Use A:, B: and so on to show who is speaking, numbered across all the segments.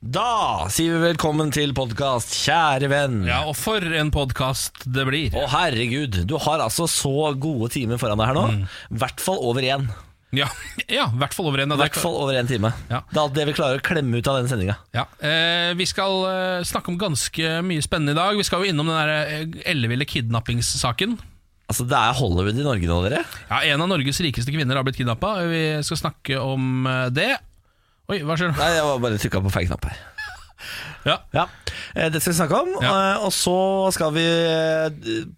A: Da sier vi velkommen til podkast, kjære venn.
B: Ja, og for en podkast det blir.
A: Å herregud, du har altså så gode timer foran deg her nå.
B: Mm.
A: I hvert fall over én.
B: Ja, ja i hvert fall over en.
A: I
B: av
A: hvert fall over én time.
B: Ja.
A: Det er alt det vi klarer å klemme ut av denne sendinga.
B: Ja. Eh, vi skal eh, snakke om ganske mye spennende i dag. Vi skal jo innom den der eh, elleville kidnappingssaken.
A: Altså, det er Hollywood i Norge nå, dere.
B: Ja, en av Norges rikeste kvinner har blitt kidnappa. Vi skal snakke om eh, det. Oi, hva skjer nå?
A: Nei, jeg var bare trykka på feil knapp her.
B: Ja.
A: Ja, eh, Det skal vi snakke om.
B: Ja.
A: eh, Og så skal vi eh,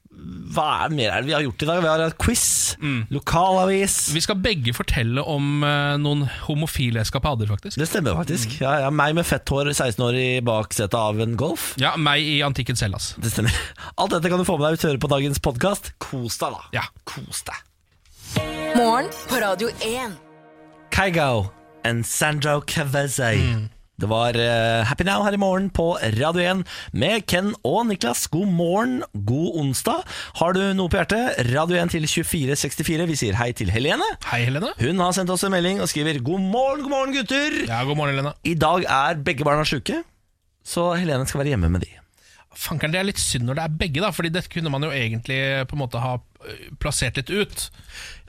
A: Hva er mer er det vi har gjort i dag? Vi har hatt quiz, lokalavis
B: Mm. Vi skal begge fortelle om eh, noen homofile eskapader, faktisk.
A: Det stemmer
B: Mm.
A: faktisk. Ja, ja, meg med fett hår, 16 år i baksetet av en Golf.
B: Ja, meg i antikken Hellas.
A: Det stemmer. Alt dette kan du få med deg hvis du hører på dagens podkast. Kos deg, da.
B: Ja.
A: Kos deg.
C: Morgen på Radio 1.
A: Kygo and Sandro Cavazzi.
B: Mm.
A: Det var eh, Happy Now her i morgen på Radio 1 med Ken og Niklas. God morgen, god onsdag. Har du noe på hjertet? Radio 1 til 2464. Vi sier hei til Helene.
B: Hei, Helene.
A: Hun har sendt oss en melding og skriver 'God morgen, god morgen, gutter'.
B: Ja, God morgen, Helene.
A: I dag er begge barna sjuke, så Helene skal være hjemme med de.
B: Fankeren, det er litt synd når det er begge, da, Fordi dette kunne man jo egentlig på en måte ha eh, plassert litt ut.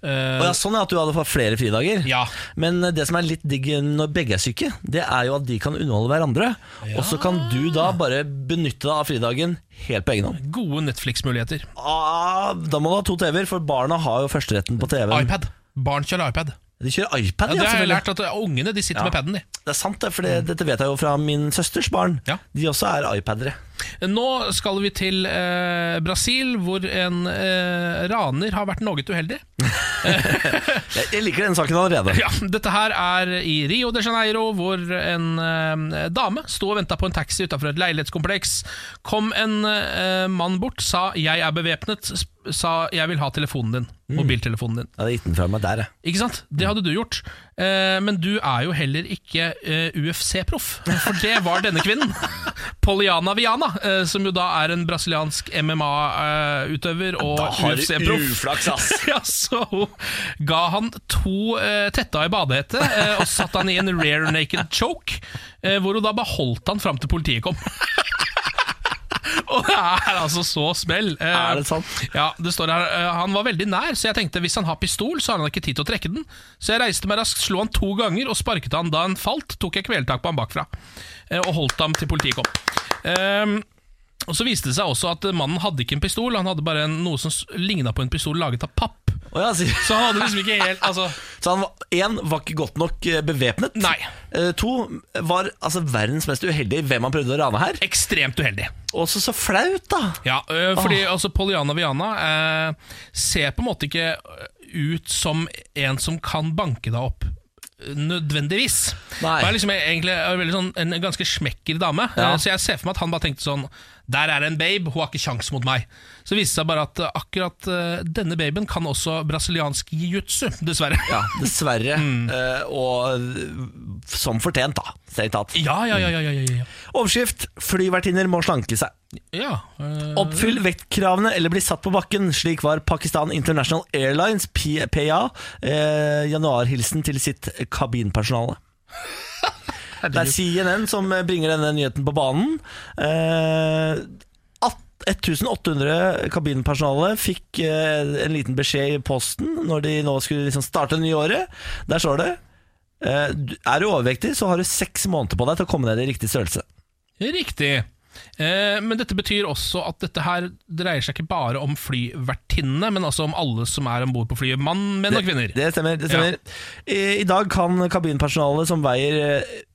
B: Eh,
A: Og ja, sånn er at du hadde fått flere fridager.
B: Ja.
A: Men det som er litt digg når begge er syke, det er jo at de kan underholde hverandre. Og så kan du da bare benytte deg av fridagen helt på egen hånd.
B: Gode Netflix-muligheter.
A: Ah, da må du ha to TV-er, for barna har jo førsteretten på TV-en.
B: iPad. Barn kjører iPad.
A: De kjører iPad,
B: Ja, det
A: ja.
B: har jeg
A: selvfølgelig.
B: lært at eh, Ungene de sitter
A: Ja.
B: med paden. de.
A: Det er sant, det, for det, dette vet jeg jo fra min søsters barn.
B: Ja.
A: De også er iPadere.
B: Nå skal vi til eh, Brasil, hvor en eh, raner har vært noe uheldig.
A: Jeg, jeg liker den saken allerede.
B: Ja, dette her er i Rio de Janeiro, hvor en eh, dame sto og venta på en taxi utafor et leilighetskompleks. Kom en eh, mann bort, sa 'jeg er bevæpnet', sp- sa 'jeg vil ha telefonen din', mobiltelefonen din.
A: Jeg hadde gitt den fra meg der, jeg.
B: Ikke sant? Det hadde du gjort. Eh, men du er jo heller ikke eh, UFC-proff, for det var denne kvinnen. Poliana Viana, eh, som jo da er en brasiliansk MMA-utøver eh, og UFC-proff.
A: uflaks, ass.
B: Ja, så hun ga han to eh, tetta i badehette eh, og satte han i en rear naked choke, eh, hvor hun da beholdt han fram til politiet kom. Og det er altså så smell. Eh,
A: Er det sant?
B: ja, det står her eh, Han var veldig nær, så jeg tenkte hvis han har pistol, så har han ikke tid til å trekke den. Så jeg reiste meg raskt, slo han to ganger og sparket han da han falt. Tok jeg kvelertak på han bakfra eh, og holdt ham til politiet kom. Ehm, og Så viste det seg også at eh, mannen hadde ikke en pistol, han hadde bare en, noe som ligna på en pistol laget av papp.
A: Å ja, sier-
B: Så han hadde liksom ikke helt altså,
A: Så han var, en, var ikke godt nok eh, bevæpnet.
B: Nei.
A: Eh, to, var altså, verdens mest uheldige i hvem han prøvde å rane her.
B: Ekstremt uheldig.
A: Og så så flaut, da!
B: Ja, øh, fordi altså Poliana Viana eh, ser på en måte ikke ut som en som kan banke deg opp. øh, Nødvendigvis.
A: Nei.
B: Hun er liksom egentlig en veldig sånn, en ganske smekker dame.
A: Ja.
B: Eh, Så jeg ser for meg at han bare tenkte sånn Der er det en babe, hun har ikke kjangs mot meg. Så viste det seg bare at eh, akkurat eh, denne baben kan også brasiliansk jiu-jitsu, dessverre.
A: Ja, dessverre. Eh, og eh, som fortjent, da. Strengt tatt.
B: Ja, ja, ja. ja, ja, ja, ja.
A: Overskrift 'Flyvertinner må slanke seg'.
B: ja øh,
A: Oppfyll vektkravene eller bli satt på bakken. Slik var Pakistan International Airlines, P- PA, eh, januarhilsen til sitt kabinpersonale. Det er CNN som bringer denne nyheten på banen. Eh, at- 1800 kabinpersonale fikk eh, en liten beskjed i posten når de nå skulle liksom starte det nye året. Der står det eh, du- Er du overvektig, så har du seks måneder på deg til å komme ned i riktig størrelse.
B: Riktig. Eh, men dette betyr også at dette her dreier seg ikke bare om flyvertinnene, men også om alle som er om bord på flyet. Mann, menn og kvinner.
A: Det stemmer. det stemmer I, I dag kan kabinpersonalet som veier eh,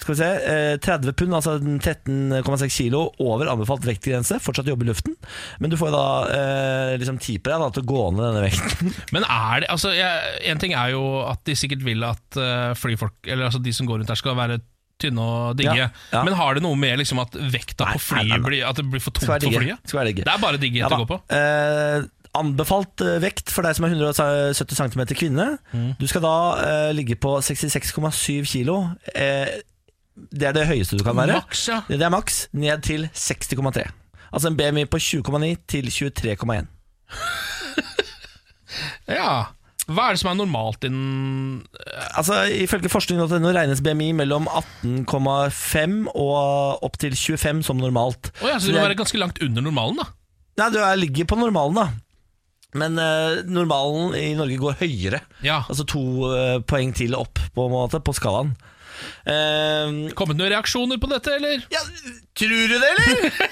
A: skal vi se, eh, 30 pund, altså 13,6 kilo over anbefalt vektgrense, fortsatt jobbe i luften. Men du får jo da eh, liksom tid på deg da, til å gå ned denne vekten.
B: Men er det altså, jeg, En ting er jo at de sikkert vil at eh, flyfolk, eller altså de som går rundt her, skal være tynne og digge.
A: Ja, ja.
B: Men har det noe med liksom at vekta
A: Nei,
B: på flyet
A: nei, nei, nei.
B: Blir, at det blir for tungt
A: Skal
B: for
A: være digge.
B: flyet?
A: Skal være digge.
B: Det er bare digghet
A: Ja
B: å
A: da.
B: gå på.
A: Eh, anbefalt eh, vekt for deg som er 170 cm kvinne.
B: Mm.
A: Du skal da eh, ligge på 66,7 kilo. Eh, det er det høyeste du kan være.
B: Maks, ja.
A: Det er maks. Ned til 60,3. Altså en BMI på 20,9 til 23,1.
B: ja. Hva er det som er normalt innen
A: Altså, Ifølge forskning.no regnes BMI mellom 18,5 og opp til 25 som normalt.
B: Å ja,
A: Så
B: så du må
A: det-
B: være ganske langt under normalen, da.
A: Nei, du er, ligger på normalen, da. Men eh, normalen i Norge går høyere.
B: Ja.
A: Altså to eh, poeng til opp på, en måte, på skalaen. Eh,
B: Kommet noen reaksjoner på dette, eller?
A: ja, tror du det, eller?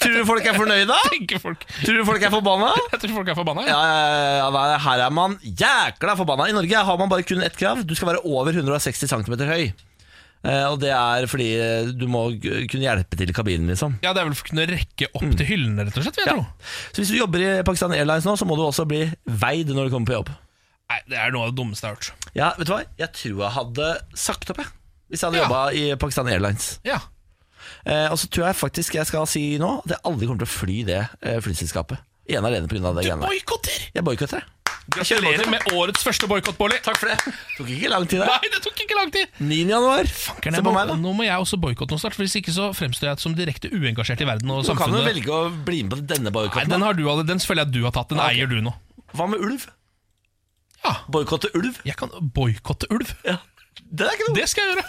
A: tror du folk er fornøyda?
B: Tenker folk
A: Tror du folk er forbanna?
B: Jeg tror folk er forbanna. Ja.
A: Ja, ja, ja, nei, her er man jækla forbanna. I Norge har man bare kun ett krav. Du skal være over 160 cm høy. Eh, og det er fordi eh, du må g- kunne hjelpe til i kabinen, liksom.
B: ja, det er vel for å kunne rekke opp til
A: Mm.
B: hyllene, rett og slett. vil jeg tro.
A: Så hvis du jobber i Pakistan Airlines nå, så må du også bli veid når du kommer på jobb.
B: Nei, Det er noe av det dummeste jeg har hørt.
A: Ja, vet du hva? Jeg tror jeg hadde sagt opp, jeg. Hvis jeg hadde
B: Ja.
A: jobba i Pakistan Airlines.
B: Ja.
A: Eh, og så tror jeg faktisk jeg skal si nå at jeg aldri kommer til å fly det eh, flyselskapet. Ene alene pga. det
B: Du
A: greiene der.
B: boikotter!
A: Jeg boikotter, jeg. Jeg kjører
B: Gratulerer med årets første boikott, Bårli.
A: Takk for det. Tok ikke lang tid, det.
B: Nei, det tok ikke lang tid.
A: 9. januar.
B: Kan
A: Se
B: jeg
A: på
B: må,
A: meg, da.
B: nå må jeg også boikotte noe snart, for hvis ikke så fremstår jeg som direkte uengasjert i verden og
A: Du kan jo
B: samfunnet.
A: velge å bli med på denne
B: Nei,
A: boikotten.
B: den har du alle, den føler jeg at du har tatt. Den
A: Ja, ok.
B: eier du nå.
A: Hva med ulv?
B: Ja,
A: Boikotte ulv?
B: jeg kan boikotte ulv.
A: Ja. Det er ikke noe.
B: Det skal jeg gjøre.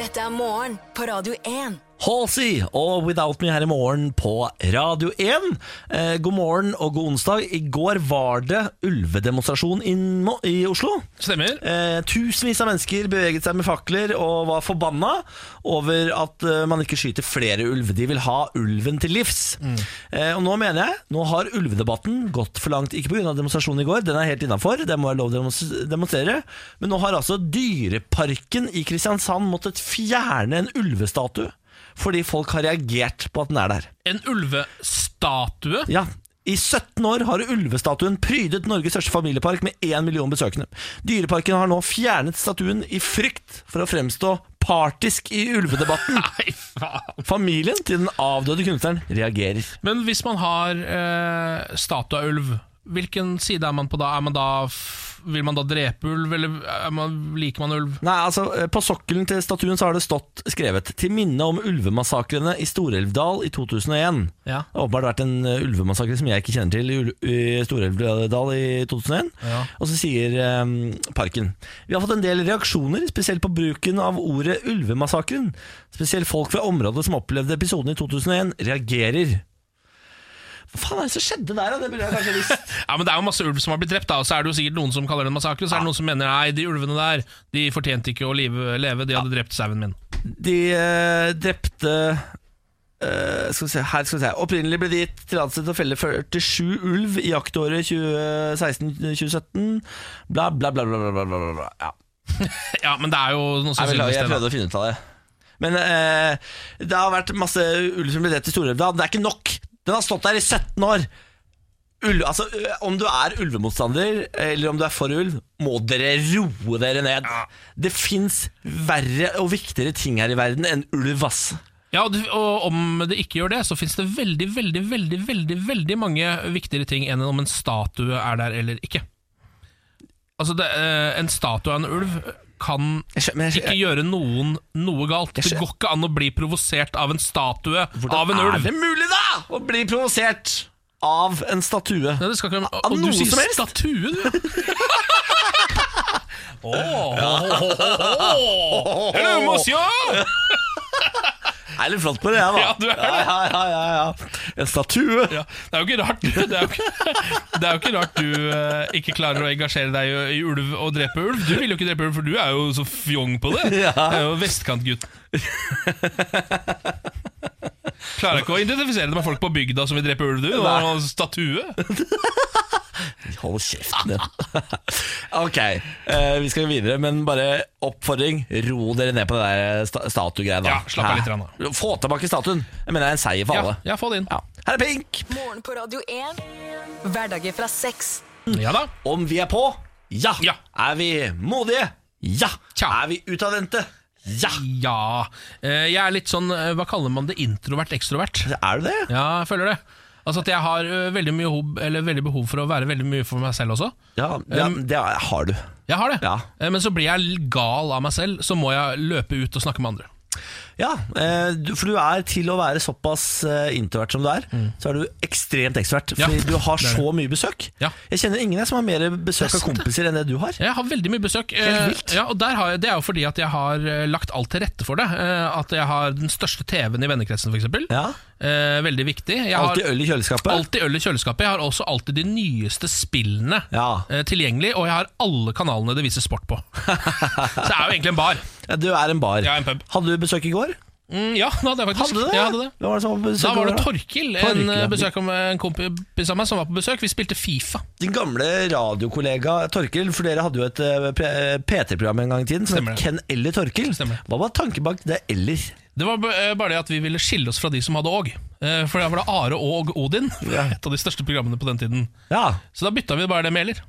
C: Dette er morgen på Radio 1.
A: Halsey og Without Me her i morgen på Radio 1. Eh, god morgen og god onsdag. I går var det ulvedemonstrasjon i, Mo- i Oslo.
B: Stemmer.
A: Eh, tusenvis av mennesker beveget seg med fakler og var forbanna over at eh, man ikke skyter flere ulv. De vil ha ulven til livs. Eh, og nå mener jeg, nå har ulvedebatten gått for langt. Ikke pga. demonstrasjonen i går, den er helt innafor, det må jeg lov til å demons- demonstrere. Men nå har altså Dyreparken i Kristiansand måttet fjerne en ulvestatue. Fordi folk har reagert på at den er der.
B: En ulvestatue.
A: Ja, i 17 år har ulvestatuen prydet Norges største familiepark med 1 million besøkende. Dyreparken har nå fjernet statuen i frykt for å fremstå partisk i ulvedebatten.
B: Nei, faen.
A: Familien til den avdøde kunstneren reagerer.
B: Men hvis man har eh, statue av ulv, hvilken side er man på da? Er man da f vil man da drepe ulv, eller er man, liker man ulv?
A: Nei, altså, eh, På sokkelen til statuen så har det stått skrevet 'Til minne om ulvemassakrene i Storelvdal i 2001'.
B: Ja.
A: Det har åpenbart vært en eh, ulvemassakre som jeg ikke kjenner til i, ul- i Storelvdal i 2001.
B: Ja.
A: Og så sier eh, Parken Vi har fått en del reaksjoner, spesielt på bruken av ordet ulvemassakren. Spesielt folk fra området som opplevde episoden i 2001, reagerer. Hva faen er det som skjedde der, da? Det burde jeg kanskje visst.
B: Ja, men Det er jo masse ulv som har blitt drept, da og så er det jo sikkert noen som kaller det en massakre. Og så er det noen som mener nei, de ulvene der De fortjente ikke å live, leve, de hadde drept sauen min.
A: De eh, drepte eh, skal vi se, her skal vi se Opprinnelig ble det gitt tillatelse til å felle 47 ulv i jaktåret 2016-2017. Bla, bla, bla, bla, bla, bla, bla, bla. Ja.
B: Ja, men det er jo
A: Jeg, beklager,
B: noe
A: jeg
B: sannsynligvis det.
A: prøvde å finne ut av det. Men eh, det har vært masse ulv som ble drept i Storelva. Det er ikke nok! Den har stått der i 17 år! Ulv, altså, ø, om du er ulvemotstander, eller om du er for ulv, må dere roe dere ned. Det fins verre og viktigere ting her i verden enn ulv, ass.
B: Ja, og du- og om det ikke gjør det, så fins det veldig, veldig, veldig veldig, veldig mange viktigere ting enn om en statue er der eller ikke. Altså, det, eh, en statue av en ulv kan
A: Jeg skjø- men jeg skjø-
B: ikke gjøre noen noe galt. Det
A: skjø-
B: går ikke an å bli provosert av en statue av en
A: Hvordan
B: ulv.
A: Er det mulig, da?! Å bli provosert av en statue.
B: Nei, det skal ikke, og,
A: Av
B: og du
A: noe
B: sier
A: som helst?
B: statue, du. Åh. Hello, monsieur!
A: Jeg er litt flott på det, jeg, da.
B: Ja, du er det.
A: Ja, ja, ja, ja, ja. En statue.
B: Ja, det er jo ikke rart du, det er jo ikke, det er jo ikke, rart du eh, ikke klarer å engasjere deg i, i ulv og drepe ulv. Du vil jo ikke drepe ulv, for du er jo så fjong på det.
A: Ja.
B: Du er jo vestkantgutt. Klarer ikke å identifisere deg med folk på bygda som vil drepe ulv, du. Og statue.
A: Hold kjeften din. ok, eh, vi skal gå videre, men bare oppfordring. Ro dere ned på det der eh, sta- statuegreiet. da.
B: Ja, slapp av
A: Hæ?
B: litt grann, da.
A: Få tilbake statuen. Jeg mener det er en seier for
B: Ja,
A: alle.
B: ja, få det inn.
A: Ja. Her er Pink!
C: Morgen på Radio 1. Hverdager fra seks.
B: Ja da.
A: Om vi er på? Ja.
B: Ja.
A: Er vi modige? Ja.
B: Tja.
A: Er vi utadvendte? Ja.
B: Ja. Eh, Jeg er litt sånn, eh, hva kaller man det, introvert ekstrovert?
A: Er du det?
B: Ja, jeg føler det. Altså at jeg har eh, veldig mye hob, eller veldig behov for å være veldig mye for meg selv også.
A: Ja, det,
B: Um,
A: det har du.
B: Jeg har det.
A: Ja.
B: Eh, Men så blir jeg gal av meg selv, så må jeg løpe ut og snakke med andre.
A: Ja, eh, du- for du er til å være såpass eh, introvert som du er, så er du ekstremt ekstrovert.
B: Mm. Ja,
A: Fordi du har
B: det er det.
A: så mye besøk.
B: Ja.
A: Jeg kjenner ingen jeg som har mer besøk
B: Det er
A: av kompiser enn det du har.
B: Jeg har veldig mye besøk.
A: Helt
B: eh,
A: vilt.
B: Ja, og der har jeg, Det er jo fordi at jeg har eh, lagt alt til rette for det. Eh, At jeg har den største TV-en i vennekretsen, f.eks.
A: Ja.
B: Eh, veldig viktig. Jeg har
A: Alltid øl i kjøleskapet.
B: alltid øl i kjøleskapet. Jeg har også alltid de nyeste spillene
A: Ja.
B: eh, tilgjengelig, og jeg har alle kanalene det vises sport på. Så det er jo egentlig en bar.
A: Ja, du er en bar.
B: Jeg er en pub.
A: Hadde du besøk i går?
B: Mm, ja, det hadde jeg faktisk.
A: Hadde du det?
B: Jeg hadde det.
A: Hvem var det som var på besøk
B: Da var
A: i går,
B: det Torkil, en
A: Torkil,
B: eh,
A: ja.
B: besøk om en kompis av meg som var på besøk. Vi spilte Fifa.
A: Din gamle radiokollega Torkil, for dere hadde jo et eh, P- eh, P3-program en gang i tiden som
B: Stemmer
A: het
B: det.
A: Ken eller Torkil.
B: Stemmer det.
A: Hva var tanken bak det eller?
B: Det var b- eh, bare det at vi ville skille oss fra de som hadde Åg. Eh, For da var det Are og Odin,
A: Ja.
B: et av de største programmene på den tiden.
A: Ja,
B: Så da bytta vi bare det med Eller.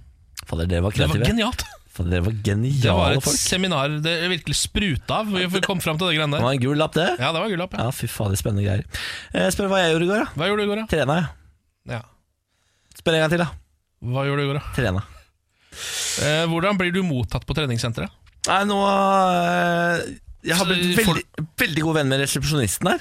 A: fader, dere var
B: Det var
A: kreative.
B: genialt.
A: Fader, dere var
B: Det var
A: geniale
B: et
A: folk.
B: seminar det virkelig spruta av. Vi kom fram til det greiene
A: Det
B: der.
A: var en gul lapp, det.
B: Ja, det var gull opp. Ja.
A: Ja, fy fader, spennende greier. Eh, spør hva jeg gjorde i går, da.
B: Hva gjorde du i går, da?
A: Trena, jeg.
B: Ja.
A: Spør en gang til, da.
B: Hva gjorde du i går, da?
A: Trena.
B: Eh, hvordan blir du mottatt på treningssenteret?
A: Nei, nå eh, Jeg har
B: Så
A: blitt
B: folk-
A: veldig, veldig god venn med resepsjonisten her.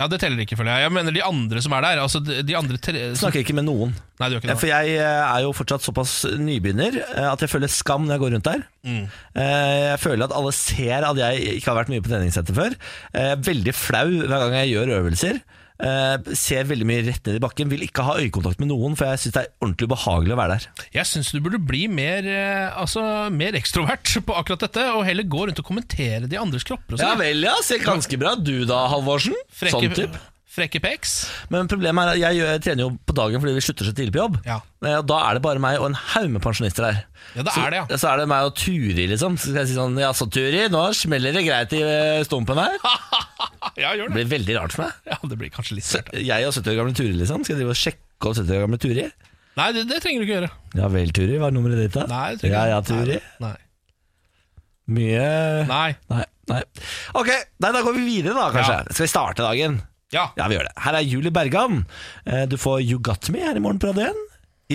B: Ja, Det teller ikke, føler jeg. Jeg mener de andre som er der. Altså de de andre tre... som-
A: Snakker ikke med noen.
B: Nei, du gjør
A: Ja,
B: ikke
A: For
B: det.
A: jeg eh, er jo fortsatt såpass nybegynner eh, at jeg føler skam når jeg går rundt der.
B: Mm.
A: Eh, Jeg føler at alle ser at jeg ikke har vært mye på treningssenter før. Eh, Veldig flau hver gang jeg gjør øvelser. Eh, Ser veldig mye rett ned i bakken. Vil ikke ha øyekontakt med noen, for jeg syns det er ordentlig ubehagelig å være der.
B: Jeg syns du burde bli mer, eh, altså, mer ekstrovert på akkurat dette, og heller gå rundt og kommentere de andres kropper. Og sånn.
A: vel, Sånn ja. Ser ganske bra du da, Halvorsen.
B: frekke, frekke peks.
A: Men problemet er at jeg gjør- jeg trener jo på dagen fordi vi slutter så tidlig på jobb.
B: Ja.
A: Eh, og Da er det bare meg og en haug med pensjonister her.
B: Ja, det
A: så,
B: er det, ja.
A: Så er det meg og Turi, liksom. Så skal jeg si sånn Ja, så Turi, nå smeller det greit i eh, stumpen her.
B: Ja, gjør
A: Det
B: det.
A: blir veldig rart for meg.
B: Ja, det blir kanskje litt sært.
A: Jeg og 70 år gamle Turi, liksom. Skal jeg drive og sjekke opp 70 år gamle Turi?
B: Nei, det, det trenger du ikke gjøre.
A: Ja vel, Turi. Hva er nummeret ditt, da?
B: Nei, det
A: ja,
B: trenger
A: ja,
B: du
A: Turi.
B: ikke. Nei.
A: Mye
B: Nei.
A: Nei. Nei. Ok, nei, da går vi videre, da, kanskje. Skal vi starte dagen?
B: Ja.
A: Ja, vi gjør det. Her er Julie Bergan. Eh, Du får You Got Me her i morgen på Radio 1.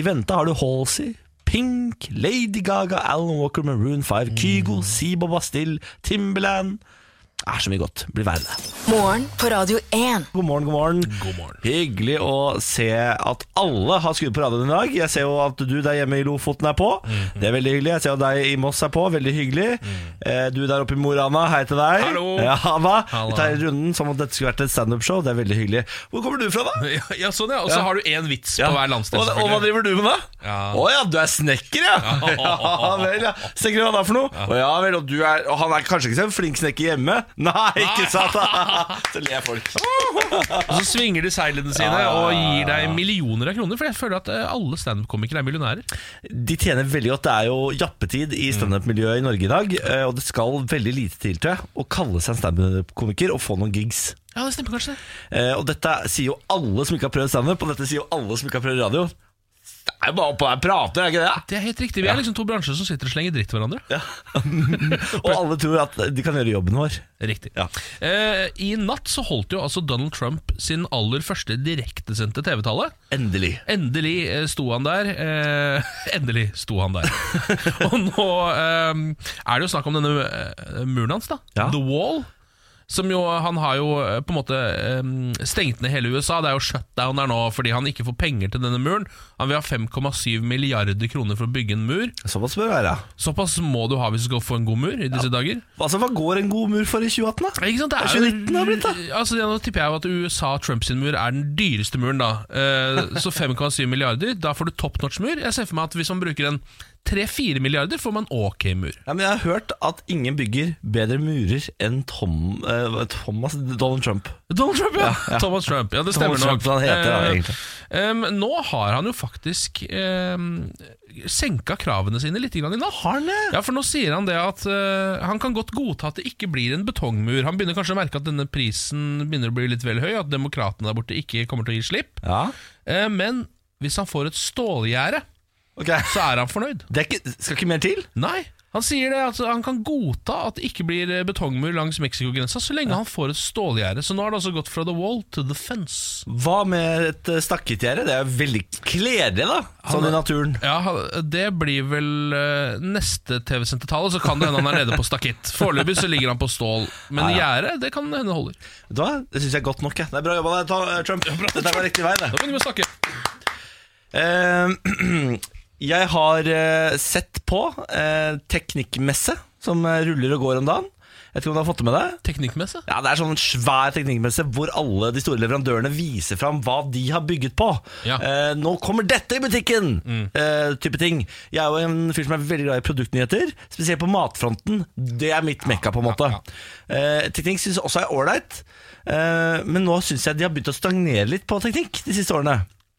A: I vente har du Halsey, Pink, Lady Gaga, Alan Walker, Maroon 5, Kygo, Sibo Bastille, Timberland. Det er så mye godt. Blir værende.
C: Morgen på Radio 1.
A: God morgen, god morgen.
B: God morgen.
A: Hyggelig å se at alle har skrudd på radioen i dag. Jeg ser jo at du der hjemme i Lofoten er på. Det er veldig hyggelig. Jeg ser at deg i Moss er på. Veldig hyggelig. Eh, Du der oppe i Mo i Rana, hei til deg.
B: Hallo.
A: Ja, hva?
B: Hallo.
A: Vi tar runden som om dette skulle vært et standup-show. Det er veldig hyggelig. Hvor kommer du fra, da?
B: Ja, ja, sånn ja. Og så
A: Ja.
B: har du én vits på hver landsdel.
A: og, og hva driver
B: selvfølgelig.
A: du med da? Å ja.
B: Ja.
A: du er snekker, ja! Ja vel, ja. Snekker hva da for noe? Å ja vel, og, du er, og han er kanskje ikke så flink snekker hjemme? Nei, ikke sant? så ler folk.
B: Og så svinger de seilene sine
A: Ja, ja, ja,
B: og
A: ja,
B: gir deg millioner av kroner. For jeg føler at eh, alle standup-komikere er millionærer.
A: De tjener veldig godt. Det er jo jappetid i standup-miljøet i Norge i dag. eh, Og det skal veldig lite til til å kalle seg en standup-komiker og få noen gigs.
B: Ja, det stemmer kanskje.
A: Eh, Og dette sier jo alle som ikke har prøvd standup, og dette sier jo alle som ikke har prøvd radio. Det er jo bare oppå der og prater, er det ikke det?
B: Det er helt riktig. Vi er liksom to bransjer som sitter og slenger dritt til hverandre.
A: Og alle tror at de kan gjøre jobben vår.
B: Riktig.
A: Ja.
B: Eh, I natt så holdt jo altså Donald Trump sin aller første direktesendte TV-tale.
A: Endelig.
B: Endelig eh, sto han der. Eh, endelig sto han der. og nå eh, er det jo snakk om denne eh, muren hans, da.
A: Ja.
B: The Wall. Som jo, Han har jo eh, på en måte eh, stengt ned hele USA. Det er jo shutdown der nå fordi han ikke får penger til denne muren. Han vil ha 5,7 milliarder kroner for å bygge en mur.
A: Såpass bør det være.
B: Såpass må du ha hvis du skal få en god mur i disse dager.
A: Altså, Hva går en god mur for i 2018, da?
B: Ikke sant? Det er,
A: Det er 2019
B: jo-
A: det har blitt, da.
B: Altså, ja, nå tipper jeg jo at USA Trumps sin mur er den dyreste muren, da. Eh, så 5,7 milliarder, da får du top notch mur. Jeg ser for meg at hvis man bruker en 3-4 milliarder, får man ok mur.
A: Ja, men Jeg har hørt at ingen bygger bedre murer enn Tom, eh, Thomas Donald Trump.
B: Donald Trump, ja! Thomas Trump, ja det stemmer
A: Donald Trump,
B: nok.
A: han heter da,
B: Eh,
A: egentlig.
B: em, nå har han jo faktisk um, senka kravene sine litt grann i natt.
A: Har han det?
B: Ja, for nå sier han det at eh, han kan godt godta at det ikke blir en betongmur. Han begynner kanskje å merke at denne prisen begynner å bli litt vel høy, at demokratene der borte ikke kommer til å gi slipp.
A: Ja.
B: Eh, Men hvis han får et stålgjerde,
A: Ok.
B: så er han fornøyd.
A: Det er ikke, skal ikke mer til?
B: Nei. Han sier det at han kan godta at det ikke blir eh, betongmur langs Mexico-grensa så lenge han får et stålgjerde. Så nå har det altså gått fra the wall to the fence.
A: Hva med et eh, stakket gjerde? Det er jo veldig kledelig, da. Sånn i naturen.
B: Ja, han- Det blir vel eh, neste TV-sendte tale, så kan det hende han er nede på stakitt. Foreløpig så ligger han på stål, men gjerde det kan hende holder.
A: Vet du hva? Det syns jeg er godt nok. Jeg. Det er Bra jobba, deg, Ta- eh, Trump. Dette var riktig vei. det
B: Da begynner vi å snakke.
A: Eh, Jeg har eh, sett på eh, teknikkmesse som eh, ruller og går om dagen. Jeg vet ikke om du har fått det med deg?
B: Teknikkmessig.
A: Ja, Det er sånn en svær teknikkmesse hvor alle de store leverandørene viser fram hva de har bygget på.
B: Ja.
A: Eh, nå kommer dette i butikken! Eh, type ting. Jeg er jo en fyr som er veldig glad i produktnyheter, spesielt på matfronten. Det er mitt mekka, på en måte. Eh, teknikk syns jeg også er ålreit, eh, men nå syns jeg de har begynt å stagnere litt på teknikk de siste årene.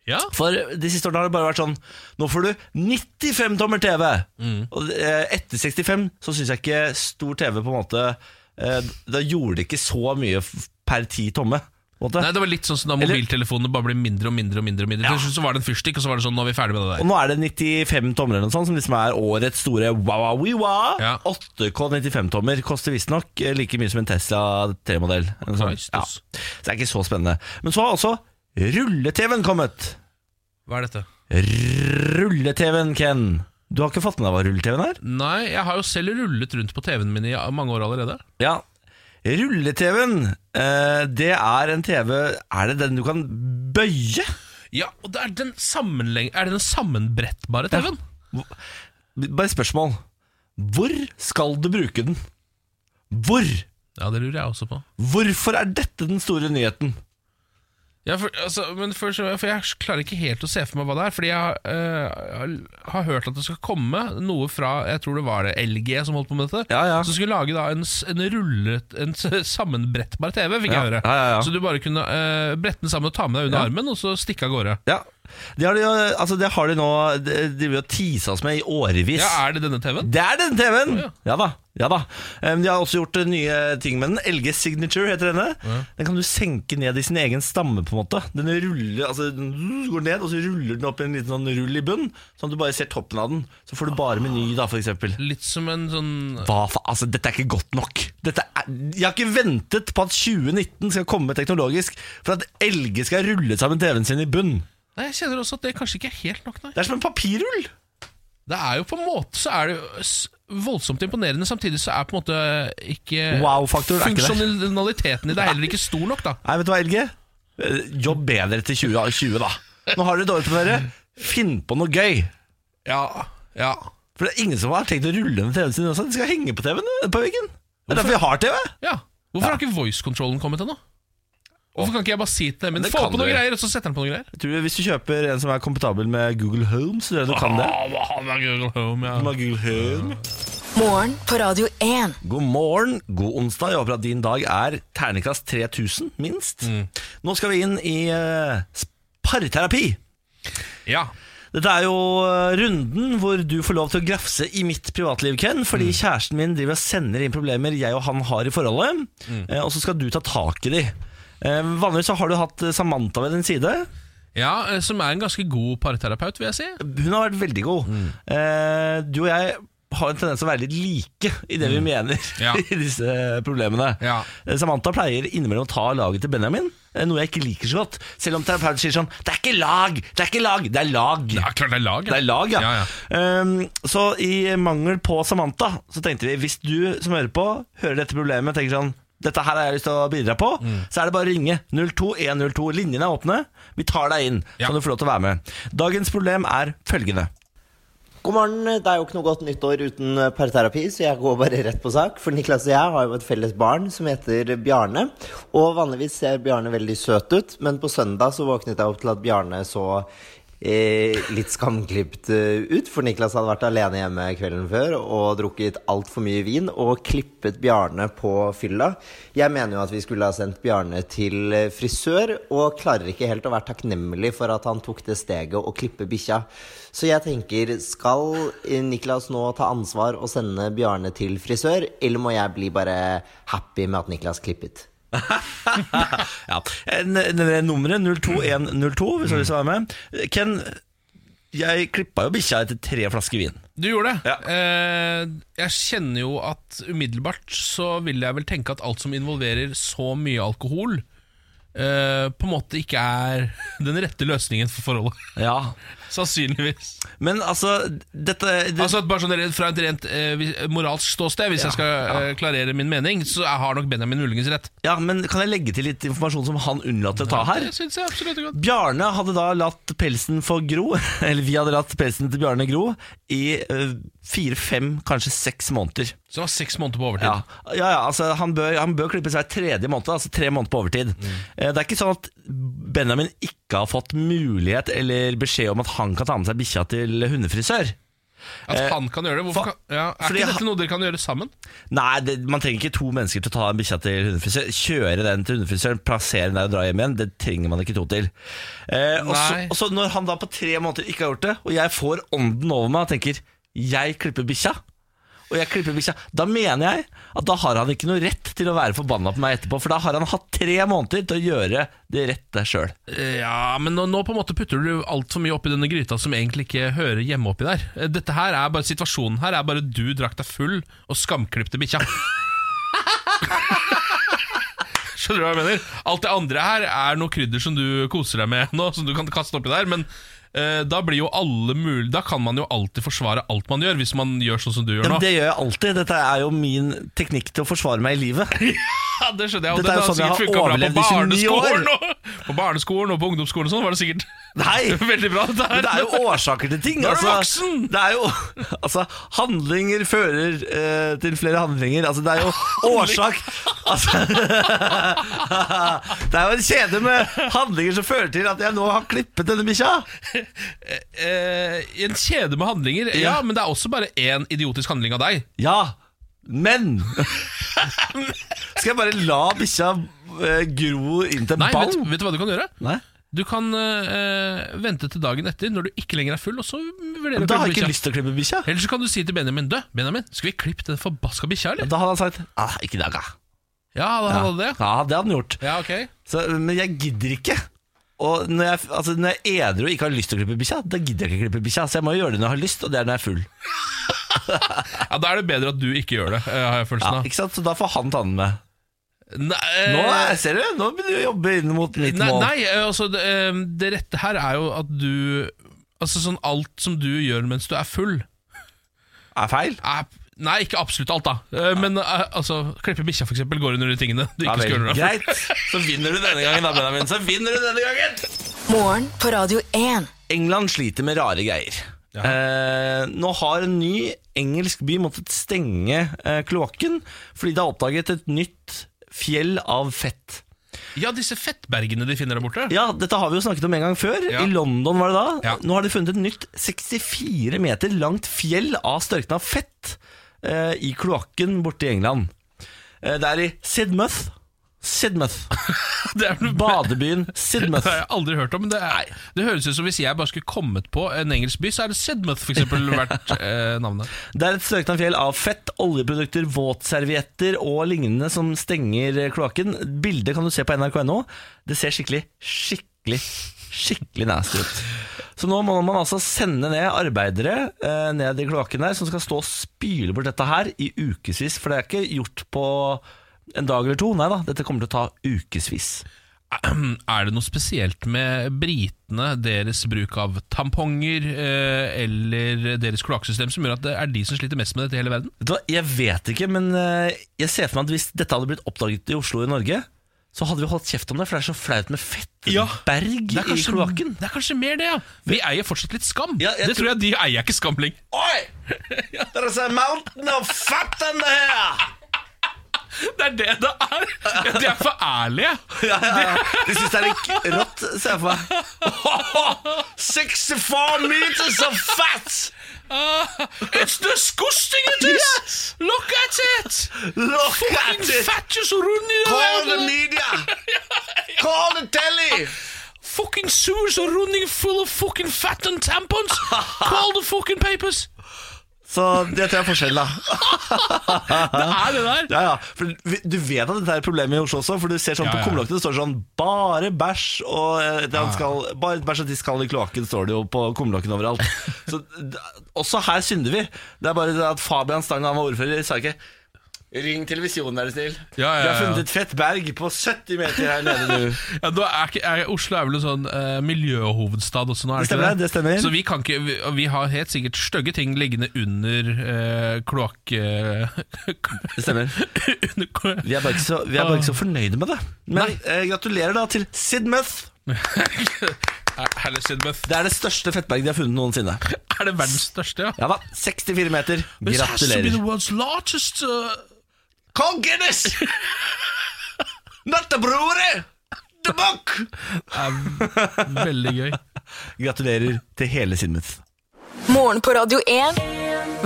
B: Ja.
A: For de siste årene har det bare vært sånn Nå får du 95 tommer TV
B: Mm.
A: Og eh, etter 65 så synes jeg ikke stor TV på en måte eh, Da gjorde det ikke så mye f- per 10 tomme på en måte.
B: Nei, det var litt sånn som da
A: Eller-
B: mobiltelefonene bare blir mindre og mindre. og mindre, og mindre. Til slutt så var det en fyrstikk, og så var det sånn, nå er vi ferdig med det
A: Og
B: der.
A: nå er det 95 tommer eller noe sånt Som liksom er årets store wawawiwa
B: Ja.
A: 8K 95 tommer Koster visst nok eh, like mye som en Tesla 3-modell eller noe sånt.
B: Christus.
A: ja. Så det er ikke så spennende Men så har også rulle-TV-en kommet
B: Hva er dette?
A: Rulle-TV-en, Ken Du har ikke fått med deg hva rulle-TV-en er?
B: Nei, jeg har jo selv rullet rundt på TV-en min i mange år allerede.
A: Ja. Rulle-TV-en, eh, det er en TV Er det den du kan bøye?
B: Ja, og det er den, sammenleng- er det den sammenbrettbare TV-en?
A: Bare et spørsmål. Hvor skal du bruke den? Hvor?
B: Ja. det lurer jeg også på.
A: Hvorfor er dette den store nyheten?
B: Ja, for, altså, men for, for jeg klarer ikke helt å se for meg hva det er, fordi jeg eh, har hørt at det skal komme noe fra jeg tror det var det LG som holdt på med dette,
A: Ja, ja.
B: som skulle lage da en, s- en rullet, en s- sammenbrettbar TV, fikk
A: Ja,
B: jeg høre.
A: ja, ja, ja.
B: Så du bare kunne eh, brette den sammen og ta med deg under
A: Ja.
B: armen, og så stikke av gårde.
A: Ja, Det har de, jo- altså det har de nå De driver og teasa oss med i årevis.
B: Ja, er det denne TV-en?
A: Det er den TV-en!
B: Å, ja.
A: ja. da. ja da Em, De har også gjort eh, nye ting med den. LG Signature heter denne. Den kan du senke ned i sin egen stamme. på en måte Den ruller, altså den går ned, og så ruller den opp i en liten sånn rull i bunnen. Sånn at du bare ser toppen av den. Så får du bare meny, da, for eksempel.
B: Litt som en sånn
A: Hva fa altså, dette er ikke godt nok. Dette er, jeg har ikke ventet på at 2019 skal komme teknologisk for at LG skal rulle sammen TV-en sin i bunn.
B: Nei, jeg kjenner også at det kanskje ikke er helt nok, nei.
A: Det er som en papirrull!
B: Det er jo på en måte så er det jo s- voldsomt imponerende, samtidig så er på en måte ikke
A: Wow-faktoren er ikke der.
B: Funksjonaliteten i det er heller ikke stor nok, da.
A: Nei, vet du hva, LG? Eh, Jobb bedre til 2020, da. Nå har dere dårlig på dere. Finn på noe gøy.
B: Ja, ja.
A: For det er ingen som har tenkt å rulle ned TV-en sin også. De skal henge på TV-en eh, på veggen. Det er derfor vi har TV.
B: ja. Hvorfor har ikke voice-kontrollen kommet ennå? Hvorfor kan ikke jeg bare si til dem
A: Det
B: Få
A: kan
B: på noen
A: du.
B: greier, og så setter han på noen greier?
A: Jeg tror Hvis du kjøper en som er komfortabel med Google Home, så tror jeg du kan det.
B: Ah, hva har vi av Google Home, ja.
A: Med Google Home.
C: Morgen på Radio 1.
A: God morgen, god onsdag. Jeg håper at din dag er terningkast 3000, minst. Nå skal vi inn i eh, parterapi.
B: ja.
A: Dette er jo eh, runden hvor du får lov til å grafse i mitt privatliv, Ken. Fordi
B: Mm.
A: kjæresten min driver og sender inn problemer jeg og han har i forholdet.
B: Mm.
A: eh, Og så skal du ta tak i de. Eh, Vanligvis så har du hatt eh, Samantha ved din side.
B: ja, eh, som er en ganske god parterapeut, vil jeg si.
A: Hun har vært veldig god.
B: Mm.
A: Eh, Du og jeg har en tendens til å være litt like i det vi mener
B: Mm. Ja.
A: i disse problemene.
B: Ja.
A: Eh, Samantha pleier innimellom å ta laget til Benjamin, eh, noe jeg ikke liker så godt. Selv om terapeuten sier sånn 'Det er ikke lag! Det er ikke lag! Det er lag!'
B: Ja, klart det er lag. ja.
A: Det er lag, ja.
B: Ja,
A: Ehm, så i mangel på Samantha, så tenkte vi hvis du som hører på, hører dette problemet, tenker sånn dette her har jeg lyst til å bidra på. Så er det bare å ringe 02102. Linjene er åpne. Vi tar deg inn,
B: Ja.
A: så du får lov til å være med. Dagens problem er følgende.
D: God morgen. Det er jo ikke noe godt nyttår uten eh, parterapi, så jeg går bare rett på sak. For Niklas og jeg har jo et felles barn som heter Bjarne. Og vanligvis ser Bjarne veldig søt ut, men på søndag så våknet jeg opp til at Bjarne så eh, litt skamklipt eh, ut. For Niklas hadde vært alene hjemme kvelden før og drukket altfor mye vin og klippet Bjarne på fylla. Jeg mener jo at vi skulle ha sendt Bjarne til eh, frisør, og klarer ikke helt å være takknemlig for at han tok det steget å klippe bikkja. Så jeg tenker, skal eh, Niklas nå ta ansvar og sende Bjarne til frisør, eller må jeg bli bare happy med at Niklas klippet?
A: ja. N- n- Nummeret 02102, hvis du har lyst til å være med. Ken, Jeg klippa jo bikkja etter tre flasker vin.
B: Du gjorde det.
A: Ja.
B: Eh, jeg kjenner jo at umiddelbart så vil jeg vel tenke at alt som involverer så mye alkohol, eh, på en måte ikke er den rette løsningen for forholdet.
A: Ja
B: Sannsynligvis.
A: Men altså dette, det,
B: Altså at bare sånn rent- Fra et rent eh, vi- moralsk ståsted, hvis jeg skal eh, klarere min mening, så jeg har nok Benjamin muligens rett.
A: Ja, men Kan jeg legge til litt informasjon som han unnlater å ta her?
B: Det synes jeg absolutt er godt.
A: Bjarne hadde da latt pelsen få gro, eller vi hadde latt pelsen til Bjarne gro, i eh, fire, fem, kanskje seks måneder.
B: Så det var seks måneder på overtid.
A: Ja, ja, ja altså han bør, han bør klippe seg tredje måned, altså tre måneder på overtid. Eh, Det er ikke sånn at Benjamin ikke har fått mulighet eller beskjed om at han kan ta med seg bikkja til hundefrisør.
B: At han kan gjøre det.
A: eh, for-
B: Hvorfor kan, ja, er
A: fordi
B: ikke
A: han-
B: dette noe dere kan gjøre sammen?
A: Nei, det, man trenger ikke to mennesker til å ta en bikkja til hundefrisør. Kjøre den til hundefrisøren, plassere den der og dra hjem igjen. Det trenger man ikke to til. Eh, og, så,
B: Nei.
A: og så når han da på tre måneder ikke har gjort det, og jeg får ånden over meg og tenker 'jeg klipper bikkja', og jeg klipper bikkja, da mener jeg at da har han ikke noe rett til å være forbanna på meg etterpå, for da har han hatt tre måneder til å gjøre det rette sjøl.
B: Eh, Ja, men nå, nå på en måte putter du altfor mye oppi denne gryta som egentlig ikke hører hjemme oppi der. Eh, Dette her er bare Situasjonen her er bare du drakk deg full og skamklipte bikkja. Skjønner du hva jeg mener? Alt det andre her er noe krydder som du koser deg med nå, som du kan kaste oppi der, men eh, da blir jo alle mulig Da kan man jo alltid forsvare alt man gjør, hvis man gjør sånn som du gjør
A: Men
B: nå.
A: det gjør jeg alltid. Dette er jo min teknikk til å forsvare meg i livet.
B: Ja, det skjønner jeg. Og
A: Dette er
B: det
A: jo
B: har
A: sånn jeg
B: sikkert
A: har
B: funka bra på
A: overlevd i 29 år.
B: barneskolen, og, på barneskolen og på ungdomsskolen og sånn, var det sikkert
A: Nei!
B: veldig bra. dette her.
A: Men det er jo årsaker til ting.
B: Da er du
A: altså,
B: voksen!
A: Det er jo, altså, handlinger fører eh, til flere handlinger. Altså, det er jo årsak altså, Det er jo en kjede med handlinger som fører til at jeg nå har klippet denne bikkja.
B: eh, i en kjede med handlinger. Ja,
A: Ja.
B: men det er også bare én idiotisk handling av deg.
A: Ja, men Skal jeg bare la bikkja eh, gro inn til en
B: Nei, vet,
A: ball?
B: vet du hva du kan gjøre?
A: Nei,
B: Du kan eh, vente til dagen etter, når du ikke lenger er full, og så vurderer du
A: Da har jeg
B: klippe
A: ikke
B: bikkja.
A: lyst til å klippe bikkja.
B: Eller så kan du si til Benjamin Dø, Benjamin, skal vi klippe den forbaska bikkja, eller?
A: Da hadde han sagt ah, 'ikke i dag', da.
B: Ja, da
A: Ja.
B: hadde det.
A: ja, det hadde han gjort.
B: Ja, ok.
A: Så, men jeg gidder ikke. Og når jeg, altså, når jeg er edru og ikke har lyst til å klippe bikkja, da gidder jeg ikke klippe bikkja. Så jeg må jo gjøre det når jeg har lyst, og det er når jeg er full.
B: Ja, Da er det bedre at du ikke gjør det, eh, har
A: Sånn, Ja,
B: jeg følelsen av.
A: ikke sant? Så da får han ta den med.
B: Nei, eh,
A: Nå er, ser du, nå begynner du å jobbe inn mot mitt
B: Nei,
A: mål.
B: nei eh, altså det, eh, det rette her er jo at du Altså sånn alt som du gjør mens du er full
A: Er feil?
B: er, Nei, ikke absolutt alt da Eh, Men eh, altså, klippe bikkja for eksempel Går under de tingene du
A: Ja
B: ikke skal
A: vel,
B: gjøre når du er full.
A: greit. Så vinner du denne gangen, da, Benjamin. Så vinner du denne gangen!
C: Morgen på Radio 1.
A: England sliter med rare greier. Eh, nå har en ny engelsk by måttet stenge eh, kloakken fordi det er oppdaget et nytt fjell av fett.
B: Ja, disse fettbergene de finner der borte
A: Ja, dette har vi jo snakket om en gang før.
B: Ja.
A: I London var det da.
B: Ja.
A: Nå har de funnet et nytt 64 meter langt fjell av størkna fett eh, i kloakken borte i England. Eh, det er i Sidmouth. Sidmouth.
B: Det er vel
A: Badebyen
B: det
A: Sidmouth.
B: har jeg aldri hørt om men det, er, det høres ut som hvis jeg bare skulle kommet på en engelsk by Så er det Sedmouth for eksempel vært eh, navnet
A: Det er et størkna fjell av fett, oljeprodukter, våtservietter og lignende som stenger eh, kloakken. Bildet kan du se på nrk.no. Det ser skikkelig, skikkelig, skikkelig nasty ut. Så nå må man altså sende ned arbeidere eh, ned i kloakken der, som skal stå og spyle bort dette her i ukevis. For det er ikke gjort på en dag eller to. Nei da, dette kommer til å ta ukevis.
B: Er det noe spesielt med britene, deres bruk av tamponger eh, eller deres kloakksystem som gjør at det er de som sliter mest med dette i hele verden?
A: Vet du hva, Jeg vet ikke, men eh, jeg ser for meg at hvis dette hadde blitt oppdaget i Oslo og i Norge, så hadde vi holdt kjeft om det, for det er så flaut med
B: Ja.
A: fettberg
B: Det er
A: i
B: kanskje,
A: kloakken.
B: det er kanskje mer det, ja. Vi eier fortsatt litt skam.
A: Ja, jeg
B: det tror jeg de eier ikke skamling.
A: Oi! There's a altså mountain of fat in there!
B: Det er det det er! Ja, de er for ærlige.
A: Ja, ja, ja. De syns det er litt rått, ser jeg for meg. 64 meters of fat!
B: Ah, it's disgusting it is! Look at it!
A: Look at
B: Fucking
A: it!
B: fatjes rundt i
A: Call the
B: verden.
A: media! Call the telly!
B: Fucking sewers are running full of fucking fat and tampons! Call the fucking papers!
A: Så det tror jeg er forskjellen, da.
B: Det er det der!
A: Ja, ja. For vi- du vet at dette er et problem i Oslo også, for du ser sånn
B: Ja, ja.
A: på kumlokkene det står sånn 'bare bæsj' og eh, det han skal, 'bare bæsj og tiss skal i kloakken', står det jo på kumlokken overalt. Så d- også her synder vi. Det er bare det at Fabian Stang, da han var ordfører, sa ikke Ring televisjonen, er du snill.
B: Ja, ja,
A: Vi har
B: ja.
A: funnet et fett berg på 70 meter her nede nå.
B: Ja, da er ikke, er, Oslo er vel en sånn eh, miljøhovedstad også nå? Er
A: Det stemmer,
B: ikke
A: det stemmer.
B: Så vi, kan ikke, vi, vi har helt sikkert stygge ting liggende under uh, kloakk...
A: Det stemmer.
B: under klo-
A: Vi er bare ikke så, vi er bare ikke så fornøyde med det. Men eh, gratulerer da til Sidmouth.
B: Herlig, Sidmouth.
A: Det er det største fettberget de har funnet noensinne.
B: Er det verdens største?
A: Ja da, 64 meter.
B: This has to be
A: Gratulerer.
B: the world's largest uh,
A: Kong Guinness! Not the brewery! The book!
B: Veldig gøy.
A: Gratulerer til hele Sidmouth.
C: Morgen på Radio 1.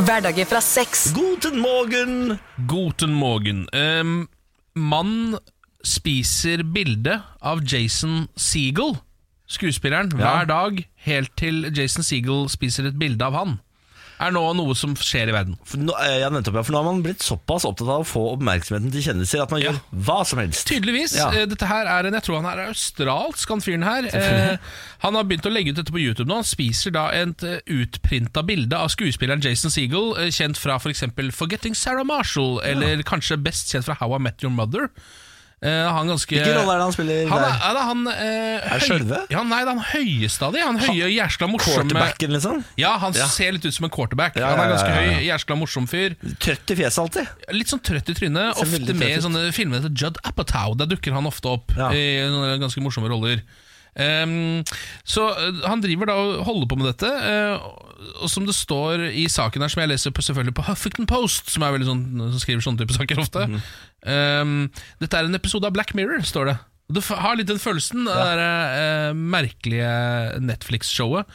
C: Hverdager fra seks.
A: Guten morgen!
B: Guten morgen. Um, mann spiser bilde av Jason Segel, skuespilleren, hver dag helt til Jason Segel spiser et bilde av han. Er nå noe som skjer i verden.
A: For nå, eh, ja, nettopp, ja, for nå har man blitt såpass opptatt av å få oppmerksomheten til kjendiser at man
B: Ja.
A: gjør hva som helst.
B: Tydeligvis.
A: Ja.
B: eh, Dette her er en, Jeg tror han er australsk, han fyren her. Eh, han har begynt å legge ut dette på YouTube nå. Han spiser da et eh, utprinta bilde av skuespilleren Jason Segel, eh, kjent fra f.eks. For 'Forgetting Sarah Marshall', eller kanskje best kjent fra 'How I Met Your Mother'. Eh, han ganske
A: Hvilken rolle er det han spiller
B: Han er,
A: der?
B: er det han eh,
A: Er det
B: høy-
A: skjølve?
B: Ja, nei, det er han høyeste av de. Han høye, jæskla morsomme
A: Quarterbacken, liksom.
B: Ja, han ser litt ut som en quarterback.
A: Ja, ja,
B: Han er
A: ja,
B: ganske
A: ja, ja.
B: høy, jæskla morsom fyr.
A: Trøtt i fjeset alltid.
B: Litt sånn trøtt i trynet.
A: Ser
B: Ofte
A: veldig
B: med i
A: trøtt ut.
B: sånne filmer til Judd Apatow. Der dukker han ofte opp
A: Ja.
B: i sånne ganske morsomme roller. Ehm, så eh, han driver da og holder på med dette. eh, og som det står i saken her, som jeg leser på, selvfølgelig på Huffington Post, som, er veldig sånn, som skriver sånne type saker ofte
A: Mhm.
B: ehm, Dette er en episode av Black Mirror, står det. Og Du f- har litt den følelsen, det der, eh, merkelige Netflix-showet.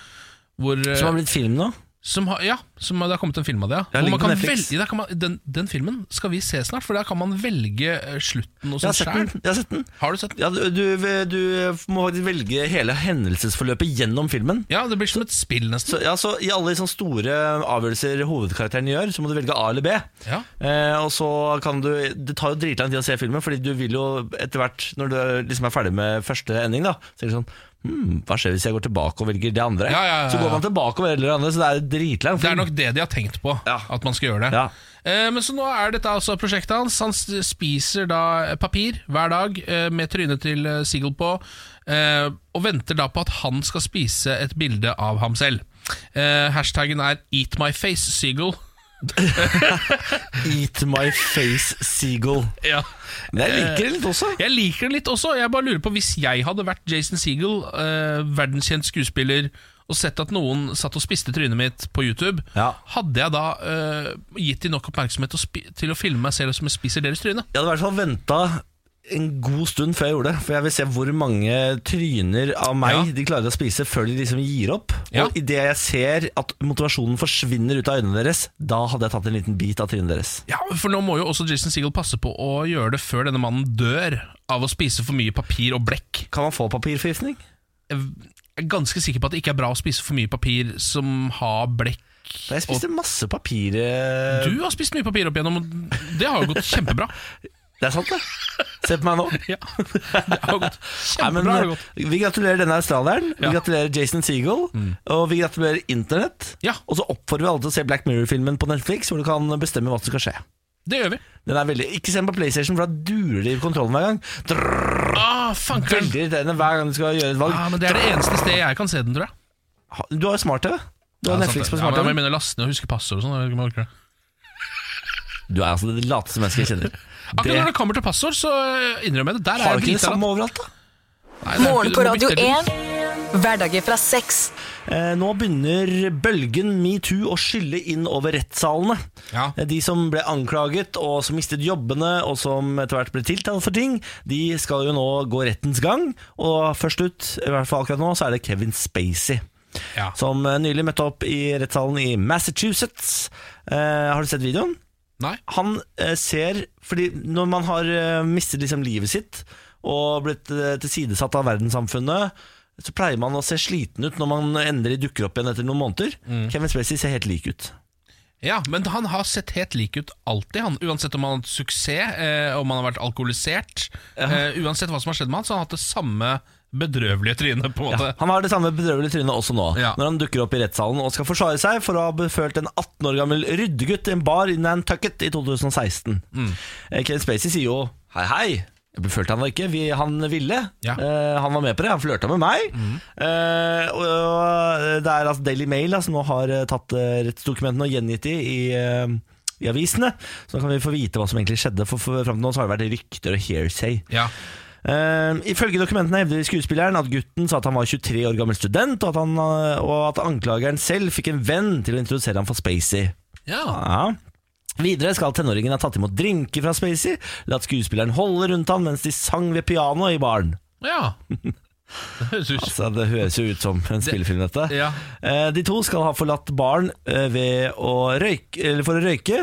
B: Hvor, eh,
A: Som har blitt film nå.
B: som har, ja, som har, det har kommet en film av det, ja.
A: Ja,
B: Hvor
A: ligger på
B: man kan
A: Netflix.
B: velge, der kan man, den, den filmen skal vi se snart, for der kan man velge eh, slutten og
A: Jeg
B: sånn
A: har sett den.
B: sjæl.
A: Jeg har sett den.
B: Har du sett den?
A: Ja, du, du, du må faktisk velge hele hendelsesforløpet gjennom filmen.
B: Ja, det blir som et spill, nesten.
A: Så, ja, så I alle sånne store avgjørelser hovedkarakteren gjør, så må du velge A eller B.
B: Ja.
A: Eh, og så kan du, Det tar jo dritlang tid å se filmen, Fordi du vil jo etter hvert, når du liksom er ferdig med første ending, da Så er det sånn hmm, Hva skjer hvis jeg går tilbake og velger det andre?
B: Ja, ja, ja,
A: Så
B: ja.
A: går man tilbake og velger det andre, så det er dritlang
B: Det er nok det de har tenkt på,
A: Ja.
B: at man skal gjøre det.
A: Ja.
B: Eh, men så nå er dette altså prosjektet hans. Han s- spiser da eh, papir hver dag eh, med trynet til eh, Sigel på, eh, og venter da på at han skal spise et bilde av ham selv. Eh, hashtaggen er 'Eat my face, Sigel'.
A: Eat my face, seagull.
B: Ja.
A: Men jeg liker det litt også.
B: Jeg liker det litt også. Jeg bare lurer på Hvis jeg hadde vært Jason Segel, eh, verdenskjent skuespiller, og sett at noen satt og spiste trynet mitt på YouTube,
A: Ja.
B: hadde jeg da eh, gitt de nok oppmerksomhet til å, spi til å filme meg selv som jeg spiser deres tryne?
A: Jeg hadde i hvert fall venta en god stund før jeg gjorde det. For jeg vil se hvor mange tryner av meg
B: Ja.
A: de klarer å spise før de liksom gir opp.
B: Ja.
A: Og idet jeg ser at motivasjonen forsvinner ut av øynene deres, da hadde jeg tatt en liten bit av trynet deres.
B: Ja, For nå må jo også Jason Segel passe på å gjøre det før denne mannen dør av å spise for mye papir og blekk.
A: Kan man få papirforgiftning?
B: Jeg er ganske sikker på at det ikke er bra å spise for mye papir som har blekk.
A: Jeg spiste masse papir eh,
B: Du har spist mye papir opp igjennom, og det har jo gått kjempebra.
A: Det er sant, det. Se på meg nå.
B: Ja, det har jo gått
A: Nei, men,
B: kjempebra. har det gått.
A: vi gratulerer denne australieren,
B: Ja. Mm.
A: vi gratulerer Jason Seagull, og vi gratulerer Internett.
B: Ja.
A: Og så oppfordrer vi alle til å se Black Mirror-filmen på Netflix, hvor du kan bestemme hva som skal skje.
B: Det gjør vi.
A: Den er veldig, Ikke se den på PlayStation, for da durer det i kontrollen hver gang. Drrr,
B: Ah, fankeren.
A: Veldig irriterende hver gang du skal gjøre et valg.
B: Ja, men Det er det eneste stedet jeg kan se den, tror jeg.
A: Ha- Du har jo smart-TV. Du har
B: Ja,
A: Netflix på
B: sant det. Ja, men jeg må
A: smart-TV.
B: begynne å laste ned og huske passord og sånn. jeg vet ikke om jeg orker det.
A: Du er altså det lateste mennesket jeg kjenner.
B: Akkurat
A: Det
B: når det kommer til passord, så eh, innrømmer jeg det. Der er
A: har du
B: jeg
A: ikke det
B: drita.
A: samme overalt, da?
B: Nei, det er
C: Morgen
B: ikke-
C: på
B: du må
C: Radio
B: bytte litt.
C: 1. Hverdager fra seks.
A: Eh, nå begynner bølgen metoo å skylle inn over rettssalene.
B: Ja.
A: Eh, De som ble anklaget og som mistet jobbene og som etter hvert ble tiltalt for ting, de skal jo nå gå rettens gang. Og først ut, i hvert fall akkurat nå, så er det Kevin Spacey.
B: Ja.
A: Som eh, nylig møtte opp i rettssalen i Massachusetts. Eh, har du sett videoen?
B: Nei.
A: han eh, ser Fordi når man har eh, mistet liksom livet sitt og blitt eh, tilsidesatt av verdenssamfunnet, så pleier man å se sliten ut når man endelig dukker opp igjen etter noen måneder. Kevin Spacey ser helt lik ut.
B: Ja, men han har sett helt lik ut alltid, han. Uansett om han har hatt suksess, eh, om han har vært alkoholisert. Eh, uansett hva som har skjedd med han, så har han hatt det samme bedrøvelige trynet, på en måte.
A: Han har det samme bedrøvelige trynet også nå,
B: Ja.
A: når han dukker opp i rettssalen og skal forsvare seg for å ha befølt en 18 år gammel ryddegutt i en bar i Nantucket i 2016.
B: Mm.
A: Eh, Kevin Spacey sier jo hei, hei. Jeg befølte han da ikke. Vi, han ville.
B: Ja. Mm.
A: Eh, han var med på det. Han flørta med meg. Eh, og, og det er altså Daily Mail da, som nå har eh, tatt eh, rettsdokumentene og gjengitt de i, eh, i avisene. Så da kan vi få vite hva som egentlig skjedde. For, for fram til nå så har det vært rykter og hearsay.
B: Ja.
A: Uh, ifølge dokumentene hevder skuespilleren at gutten sa at han var 23 år gammel student, og at, han, eh, og at anklageren selv fikk en venn til å introdusere ham for Spacey.
B: ja.
A: Ja. Videre skal tenåringen ha tatt imot drinker fra Spacey, latt skuespilleren holde rundt han mens de sang ved pianoet i baren.
B: ja. Det høres ut
A: Så Altså, det høres jo ut som en spillefilm, dette.
B: Ja.
A: Eh, De to skal ha forlatt baren eh, ved å røyke, eller for å røyke,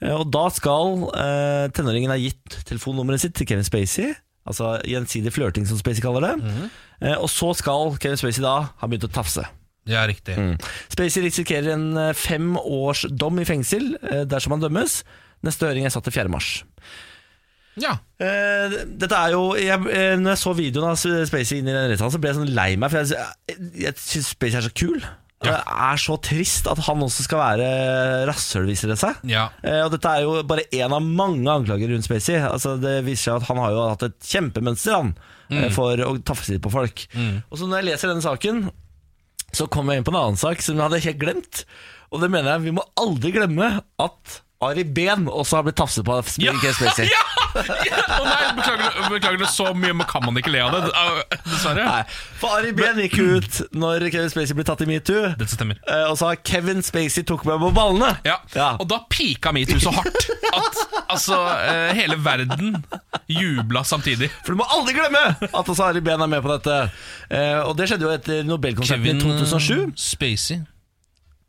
A: eh, og da skal eh, tenåringen ha gitt telefonnummeret sitt til Kevin Spacey. Altså gjensidig flørting, som Spacey kaller det. Eh, Og så skal Kevin Spacey da ha begynt å tafse.
B: Ja, riktig.
A: Mm. Spacey risikerer en eh, fem års dom i fengsel eh, dersom han dømmes. Neste høring er satt til 4. mars.
B: Ja.
A: Eh, dette er jo jeg, eh, Når jeg så videoen av Spacey inn i den rettssalen, så ble jeg sånn lei meg, for jeg, jeg, jeg syns Spacey er så kul. Og Det er så trist at han også skal være rasshøl, viser det seg.
B: Ja.
A: Eh, og dette er jo bare én av mange anklager rundt Spacey. Altså, det viser seg at han har jo hatt et kjempemønster han,
B: Mm.
A: eh, for å tafse litt på folk. Og så når jeg leser denne saken, så kom jeg inn på en annen sak som jeg hadde helt glemt. Og det mener jeg, vi må aldri glemme at Ari Behn også har blitt tafset på av Kevin Spacey.
B: Ja! ja! Å nei, beklager, beklager det så mye, men kan man ikke le av det? Au, Dessverre.
A: Nei, for Ari Behn gikk jo ut når Kevin Spacey ble tatt i metoo.
B: Det stemmer.
A: eh, Og sa 'Kevin Spacey tok meg på ballene'.
B: Ja. Og da pika metoo så hardt at altså, eh, hele verden jubla samtidig.
A: For du må aldri glemme at også Ari Behn er med på dette. Eh, Og det skjedde jo etter Nobelkonserten
B: eh,
A: i 2007.
B: Spacey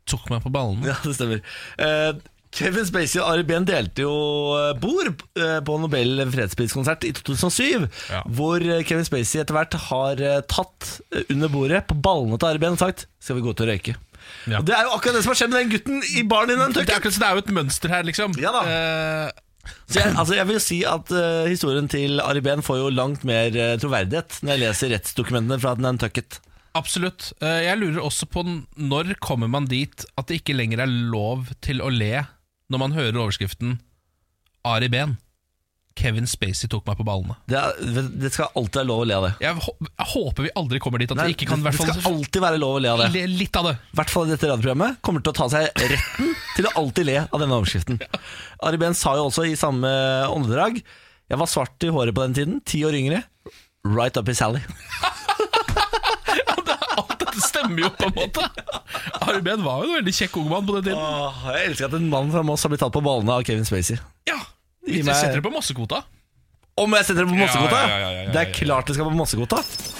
B: tok meg på ballen.
A: Ja, det stemmer. Eh, Kevin Spacey og Ari Behn delte jo eh, bord eh, på Nobel fredspriskonsert i 2007,
B: Ja.
A: hvor eh, Kevin Spacey etter hvert har eh, tatt eh, under bordet på ballene til Ari Behn og sagt 'skal vi gå ut og røyke'?
B: Ja.
A: Og Det er jo akkurat det som har skjedd med den gutten i baren i den
B: Det, er akkurat, så det er jo et mønster her, liksom.
A: Ja da.
B: Eh,
A: Så jeg, altså jeg vil jo si at eh, historien til Ari Behn får jo langt mer eh, troverdighet når jeg leser rettsdokumentene fra Nantucket.
B: absolutt. Eh, jeg lurer også på n- når kommer man dit at det ikke lenger er lov til å le når man hører overskriften Ari Behn. Kevin Spacey tok meg på ballene.
A: Det, er, det skal alltid være lov å le av det.
B: Jeg, hå- jeg håper vi aldri kommer dit at
A: Nei,
B: vi ikke kan i
A: det,
B: hvert
A: det skal
B: fall
A: alltid være lov å le av det.
B: le litt av det.
A: I hvert fall i dette radioprogrammet kommer til å ta seg retten til å alltid le av denne overskriften. Ari Behn sa jo også i samme åndedrag Jeg var svart i håret på den tiden, ti år yngre. Right up his alley.
B: Alt dette stemmer jo, på en måte. Ari Behn var jo en veldig kjekk ung mann på den tiden.
A: Åh, jeg elsker at en mann fra Moss har blitt tatt på ballene av Kevin Spacey.
B: Ja,
A: Gi
B: Vi
A: meg-
B: setter det på massekvota.
A: Om jeg setter det på Mossekvota?
B: Ja, ja, ja, ja, ja, ja,
A: Det
B: ja.
A: er klart det skal på Mossekvota.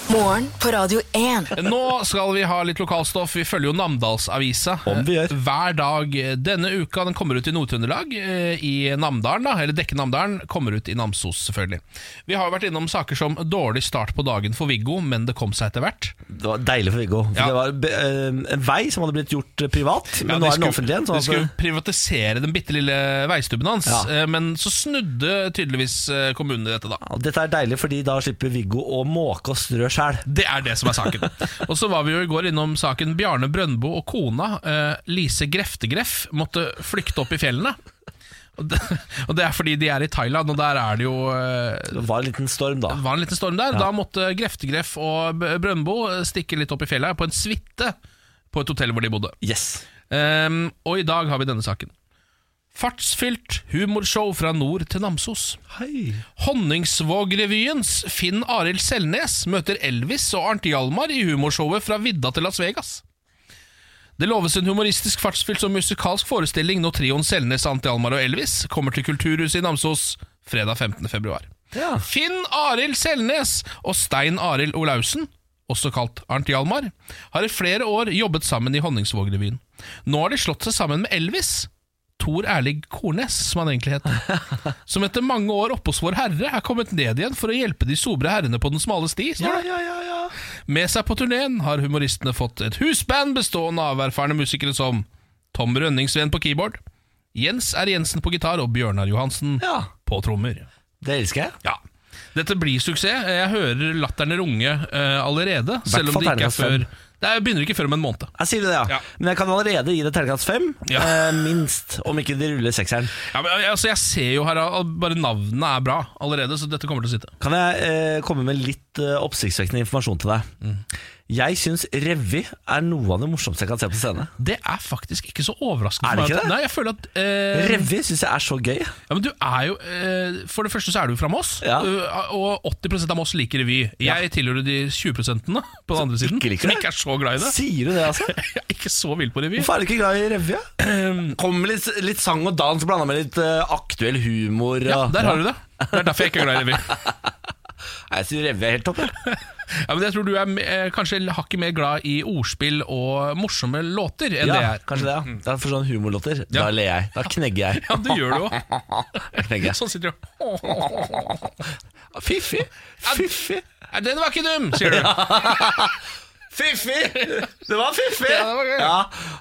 C: Morgen på Radio 1.
B: Nå skal vi ha litt lokalstoff. Vi følger jo Namdalsavisa
A: Om vi gjør.
B: eh, hver dag denne uka. Den kommer ut i Nord-Trøndelag, eh, i Namdalen, da, eller dekker Namdalen. Kommer ut i Namsos, selvfølgelig. Vi har jo vært innom saker som dårlig start på dagen for Viggo, men det kom seg etter hvert.
A: Det var deilig for Viggo. For
B: Ja.
A: Det var be- eh, en vei som hadde blitt gjort eh, privat, men nå
B: Ja, de
A: er den
B: skulle-
A: offentlig igjen. så
B: De
A: altså-
B: skulle privatisere den bitte lille veistubben hans,
A: Ja.
B: eh, men så snudde tydeligvis eh, kommunen i dette, da.
A: Ja, Dette er deilig, fordi da slipper Viggo å måke og strø sjæl.
B: Det er det som er saken. Og så var vi jo i går innom saken Bjarne Brøndbo og kona, eh, Lise Greftegreff, måtte flykte opp i fjellene. Og det, og det er fordi de er i Thailand, og der er det jo eh,
A: Det var en liten storm, da.
B: det var en liten storm der. Da måtte Greftegreff og B- Brøndbo stikke litt opp i fjellet på en suite på et hotell hvor de bodde.
A: Yes.
B: Ehm, og i dag har vi denne saken. Fartsfylt humorshow fra nord til Namsos.
A: Hei.
B: Honningsvåg-revyens Finn Arild Selnes møter Elvis og Arnt Hjalmar i humorshowet Fra vidda til Las Vegas. Det loves en humoristisk, fartsfylt og musikalsk forestilling når trioen Selnes, Arnt Hjalmar og Elvis kommer til Kulturhuset i Namsos fredag 15. februar.
A: Ja.
B: Finn Arild Selnes og Stein Arild Olaussen, også kalt Arnt Hjalmar, har i flere år jobbet sammen i Honningsvåg-revyen. Nå har de slått seg sammen med Elvis. Tor Erlig Kornes, som han egentlig het. Som etter mange år oppe hos Vår Herre er kommet ned igjen for å hjelpe de sobre herrene på den smale sti. står det.
A: Ja, ja, ja, ja.
B: Med seg på turneen har humoristene fått et husband bestående av erfarne musikere som Tom Rønningsven på keyboard, Jens R. Jensen på gitar og Bjørnar Johansen
A: Ja.
B: på trommer.
A: Det elsker jeg.
B: Ja. Dette blir suksess. Jeg hører latterne runge eh, allerede. Selv om
A: fall
B: det ikke er
A: terningkast fem.
B: før Det er- begynner ikke før om en måned.
A: Jeg sier det, ja.
B: Ja.
A: Men jeg kan allerede gi det terningkast fem.
B: Ja.
A: eh, minst, om ikke de ruller sekseren.
B: Ja, men, altså, jeg ser jo her at bare navnene er bra allerede, så dette kommer til å sitte.
A: Kan jeg eh, komme med litt eh, oppsiktsvekkende informasjon til deg? Jeg syns revy er noe av det morsomste jeg kan se på scene.
B: Det er faktisk ikke så overraskende.
A: Er det
B: for meg
A: ikke
B: at-
A: det?
B: Nei, jeg føler at eh,
A: Revy syns jeg er så gøy.
B: ja, men du er jo, eh, For det første så er du fra Moss,
A: Ja.
B: eh, og 80 av Moss liker revy. Jeg tilhører de 20 på den andre siden,
A: ikke liker
B: som
A: det?
B: ikke er så glad i det.
A: Sier du det, altså?
B: Jeg er ikke så vill på revy.
A: Hvorfor er du ikke glad i revy? ja? Kom med Ehm, litt, litt sang og dans blanda med litt eh, aktuell humor.
B: Ja,
A: og-
B: der har du det. Det er derfor jeg ikke er glad i revy.
A: Nei, Jeg syns revy er helt topp. jeg.
B: Ja, men jeg tror du er eh, kanskje hakket mer glad i ordspill og morsomme låter enn
A: Ja,
B: det jeg er.
A: kanskje det. ja Det er for sånne humorlåter.
B: Mm. Ja.
A: Da ler jeg. Da knegger jeg.
B: Ja, det gjør du jo.
A: Jeg knegger.
B: Sånn sitter du
A: Fiffi! Fiffi!
B: Nei, Den var ikke dum, sier du.
A: Fiffi! Det var fiffi!
B: Ja, det var gøy.
A: Ja.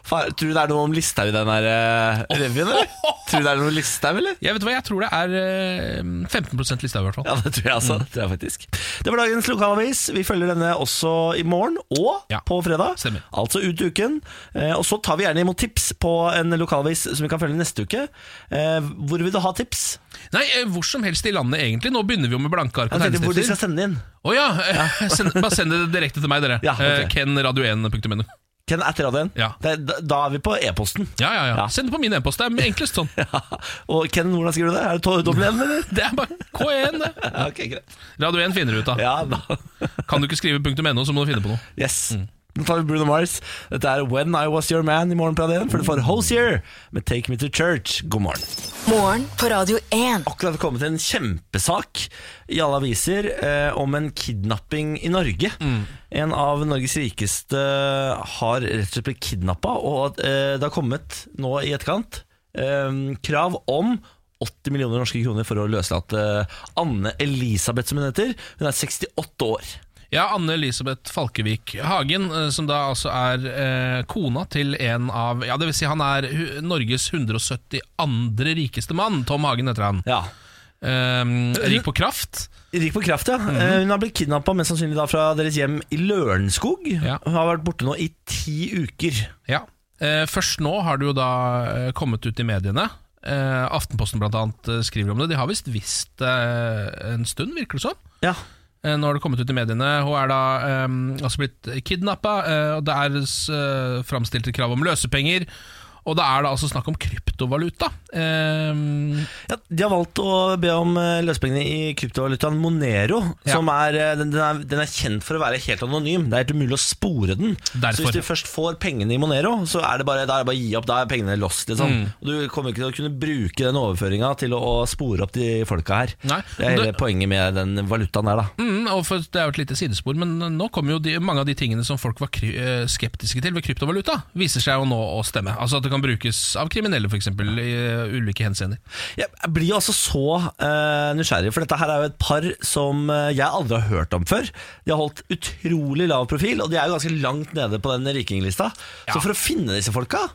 A: Faen, tror du det er noe om Listhaug i den her eh, revyen, eller? Tror du det er noe Listhaug, eller?
B: Jeg vet hva, jeg tror det er eh, 15 lista i hvert fall.
A: Ja, det tror jeg
B: Mm.
A: altså. Det tror jeg faktisk. Det var dagens lokalavis. Vi følger denne også i morgen og
B: Ja,
A: på fredag.
B: stemmer.
A: Altså ut i uken. Eh, og så tar vi gjerne imot tips på en lokalavis som vi kan følge neste uke. Eh, hvor vil du ha tips?
B: Nei, eh, hvor som helst i landet egentlig. Nå begynner vi jo med blanke ark og
A: Jeg tenkte hvor de skal
B: tegnestifter.
A: sende inn.
B: Å ja! eh, Send, bare send det direkte til meg, dere.
A: Ja, ok.
B: Eh, Kenradio1.no.
A: Ken at radioen.
B: Ja.
A: Det, da, da er vi på e-posten.
B: Ja, ja, ja.
A: Ja.
B: Send det på min e-post. Det er enklest sånn.
A: Og Ken, hvordan skriver du det? Er det to- dobbel N, eller?
B: Det er bare K1, det.
A: Ja, ok, greit.
B: Radio 1 finner du ut av.
A: Ja, da.
B: Kan du ikke skrive punktum .no, så må du finne på noe.
A: Yes.
B: Mm.
A: Nå tar vi Bruno Mars. Dette er When I Was Your Man i morgen på radioen, for du får Hosier med Take Me To Church. God morgen.
C: Morgen på Radio 1.
A: akkurat kommet en kjempesak i alle aviser eh, om en kidnapping i Norge. En av Norges rikeste har rett og slett blitt kidnappa, og eh, det har kommet nå i etterkant eh, krav om 80 millioner norske kroner for å løslate eh, Anne Elisabeth, som hun heter. Hun er 68 år.
B: Ja, Anne Elisabeth Falkevik Hagen, eh, som da altså er eh, kona til en av Ja, det vil si han er hu- Norges 172. rikeste mann. Tom Hagen heter han.
A: Ja.
B: Eh, rik på kraft.
A: Rik på kraft, ja. Eh, Hun har blitt kidnappa mest sannsynlig da fra deres hjem i Lørenskog.
B: Ja.
A: Hun har vært borte nå i ti uker.
B: Ja. Eh, først nå har det jo da eh, kommet ut i mediene. Eh, Aftenposten blant annet eh, skriver om det. De har visst visst det eh, en stund, virker det som.
A: Ja.
B: Eh, Nå har det kommet ut i mediene. Hun er da eh, altså blitt kidnappa, eh, og det er eh, framstilt et krav om løsepenger. Og det er da altså snakk om kryptovaluta. Eh,
A: Ja, de har valgt å be om eh, løsepengene i kryptovalutaen Monero,
B: Ja.
A: som er, eh, den, den er, den er kjent for å være helt anonym. Det er helt umulig å spore den.
B: Derfor.
A: Så hvis du først får pengene i Monero, så er det bare, da er det bare å gi opp. Da er pengene lost. Liksom.
B: Mm.
A: Og du kommer ikke til å kunne bruke den overføringa til å, å spore opp de folka her.
B: Nei,
A: det er
B: men
A: hele poenget med den valutaen der, da.
B: mm, og for, det er jo et lite sidespor, men nå kommer jo de, mange av de tingene som folk var kry eh, skeptiske til ved kryptovaluta, viser seg jo nå å stemme. Altså At det kan brukes av kriminelle, f.eks., i eh, ulike henseender.
A: Jeg jeg blir altså så eh, nysgjerrig, for dette her er jo et par som eh, jeg aldri har hørt om før. De har holdt utrolig lav profil, og de er jo ganske langt nede på den rankinglista.
B: Ja.
A: Så for å finne disse folka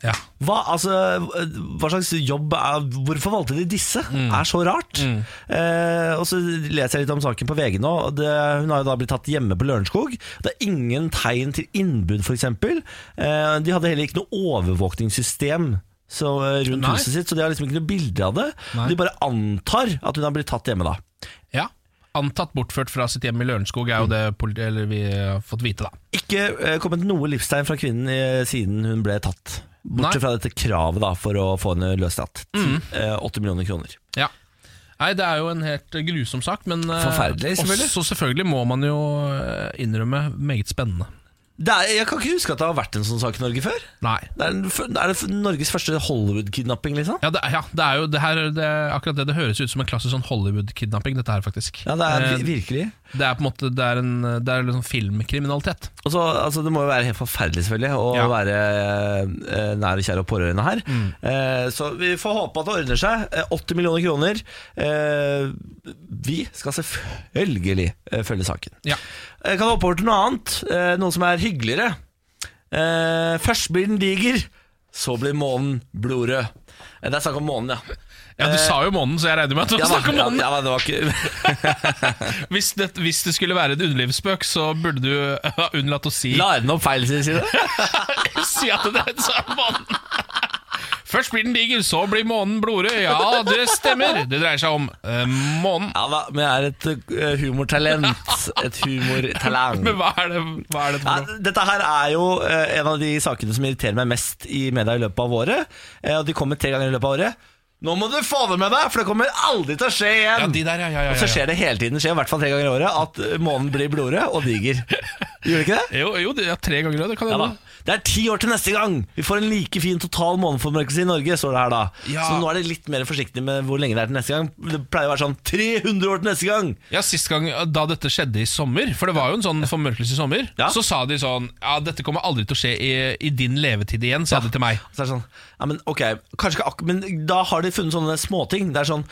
B: Ja.
A: hva, altså, eh, hva slags jobb er, Hvorfor valgte de disse?
B: Mm.
A: er så rart. Eh, og så leser jeg litt om saken på VG nå. og Det, hun har jo da blitt tatt hjemme på Lørenskog. Det er ingen tegn til innbrudd, f.eks. Eh, de hadde heller ikke noe overvåkningssystem så, eh, rundt
B: Nei.
A: huset sitt, så de har liksom ikke noe bilde av det.
B: Nei.
A: De bare antar at hun har blitt tatt hjemme da.
B: ja. Antatt bortført fra sitt hjem i Lørenskog
A: Mm.
B: er jo det politi eller vi har fått vite, da.
A: Ikke eh, kommet noe livstegn fra kvinnen eh, siden hun ble tatt.
B: Nei. Mm.
A: Bortsett fra dette kravet da for å få henne løslatt. Eh, 8 millioner kroner.
B: Ja. Nei, Det er jo en helt grusom sak, men eh,
A: Forferdelig, selvfølgelig.
B: også selvfølgelig må man jo eh, innrømme meget spennende.
A: Det er, jeg kan ikke huske at det har vært en sånn sak i Norge før.
B: Nei.
A: Det er, den f- er det Norges første Hollywood-kidnapping, liksom?
B: Ja, det, er- ja, det er jo det her, det, er akkurat det. Det høres ut som en klassisk sånn Hollywood-kidnapping, dette her, faktisk.
A: Ja, det er
B: Eh,
A: vi- virkelig.
B: det er på en måte Det er, en, det er liksom filmkriminalitet.
A: Og så, altså, det må jo være helt forferdelig, selvfølgelig, å
B: Ja. Mm.
A: være eh, nær og kjære og pårørende her. Eh, så vi får håpe at det ordner seg. Eh, 80 millioner kroner. Eh, vi skal selvfølgelig eh, følge saken.
B: Ja.
A: Jeg kan hoppe over til noe annet, eh, noe som er hyggeligere. Eh, først blir den Eh, diger, så blir månen blodrød. Eh, Det er snakk om månen, ja.
B: Ja, Du sa jo månen, så jeg regner med at du
A: Eh, Ja, da,
B: snakker om
A: ja,
B: månen.
A: ja, da, det var ikke
B: Hvis, det, hvis det skulle være en underlivsspøk, så burde du ha unnlatt å si,
A: La den opp feil side.
B: si at det dreide seg om månen. Først blir den diger, så blir månen blodrød. Ja, det stemmer. Det dreier seg om eh, månen.
A: Ja da, men jeg er et eh, humortalent. Et humortalent.
B: Men hva er det, hva er det for noe?
A: Nei, dette her er jo eh, en av de sakene som irriterer meg mest i media i løpet av året. Eh, og de kommer tre ganger i løpet av året. Nå må du få det med deg, for det kommer aldri til å skje igjen!
B: Ja, de der, ja, ja, ja,
A: Og så
B: ja.
A: skjer det hele tiden, skjer i hvert fall tre ganger i året, at eh, månen blir blodrød og diger. Gjør det ikke det?
B: Jo, jo det er tre ganger rød, det kan
A: Ja da.
B: hende.
A: Det er ti år til neste gang! Vi får en like fin total måneformørkelse i Norge, står det her da.
B: Ja.
A: Så nå er det litt mer forsiktig med hvor lenge det er til neste gang. Det pleier å være sånn 300 år til neste gang!
B: Ja, Sist gang eh, da dette skjedde i sommer, for det var jo en sånn formørkelse i sommer,
A: Ja.
B: så sa de sånn Ja, dette kommer aldri til å skje i, i din levetid igjen, sa de til meg.
A: Og Så er det sånn, ja, men ok, kanskje ikke akkurat, men da har de funnet sånne småting. Det er sånn,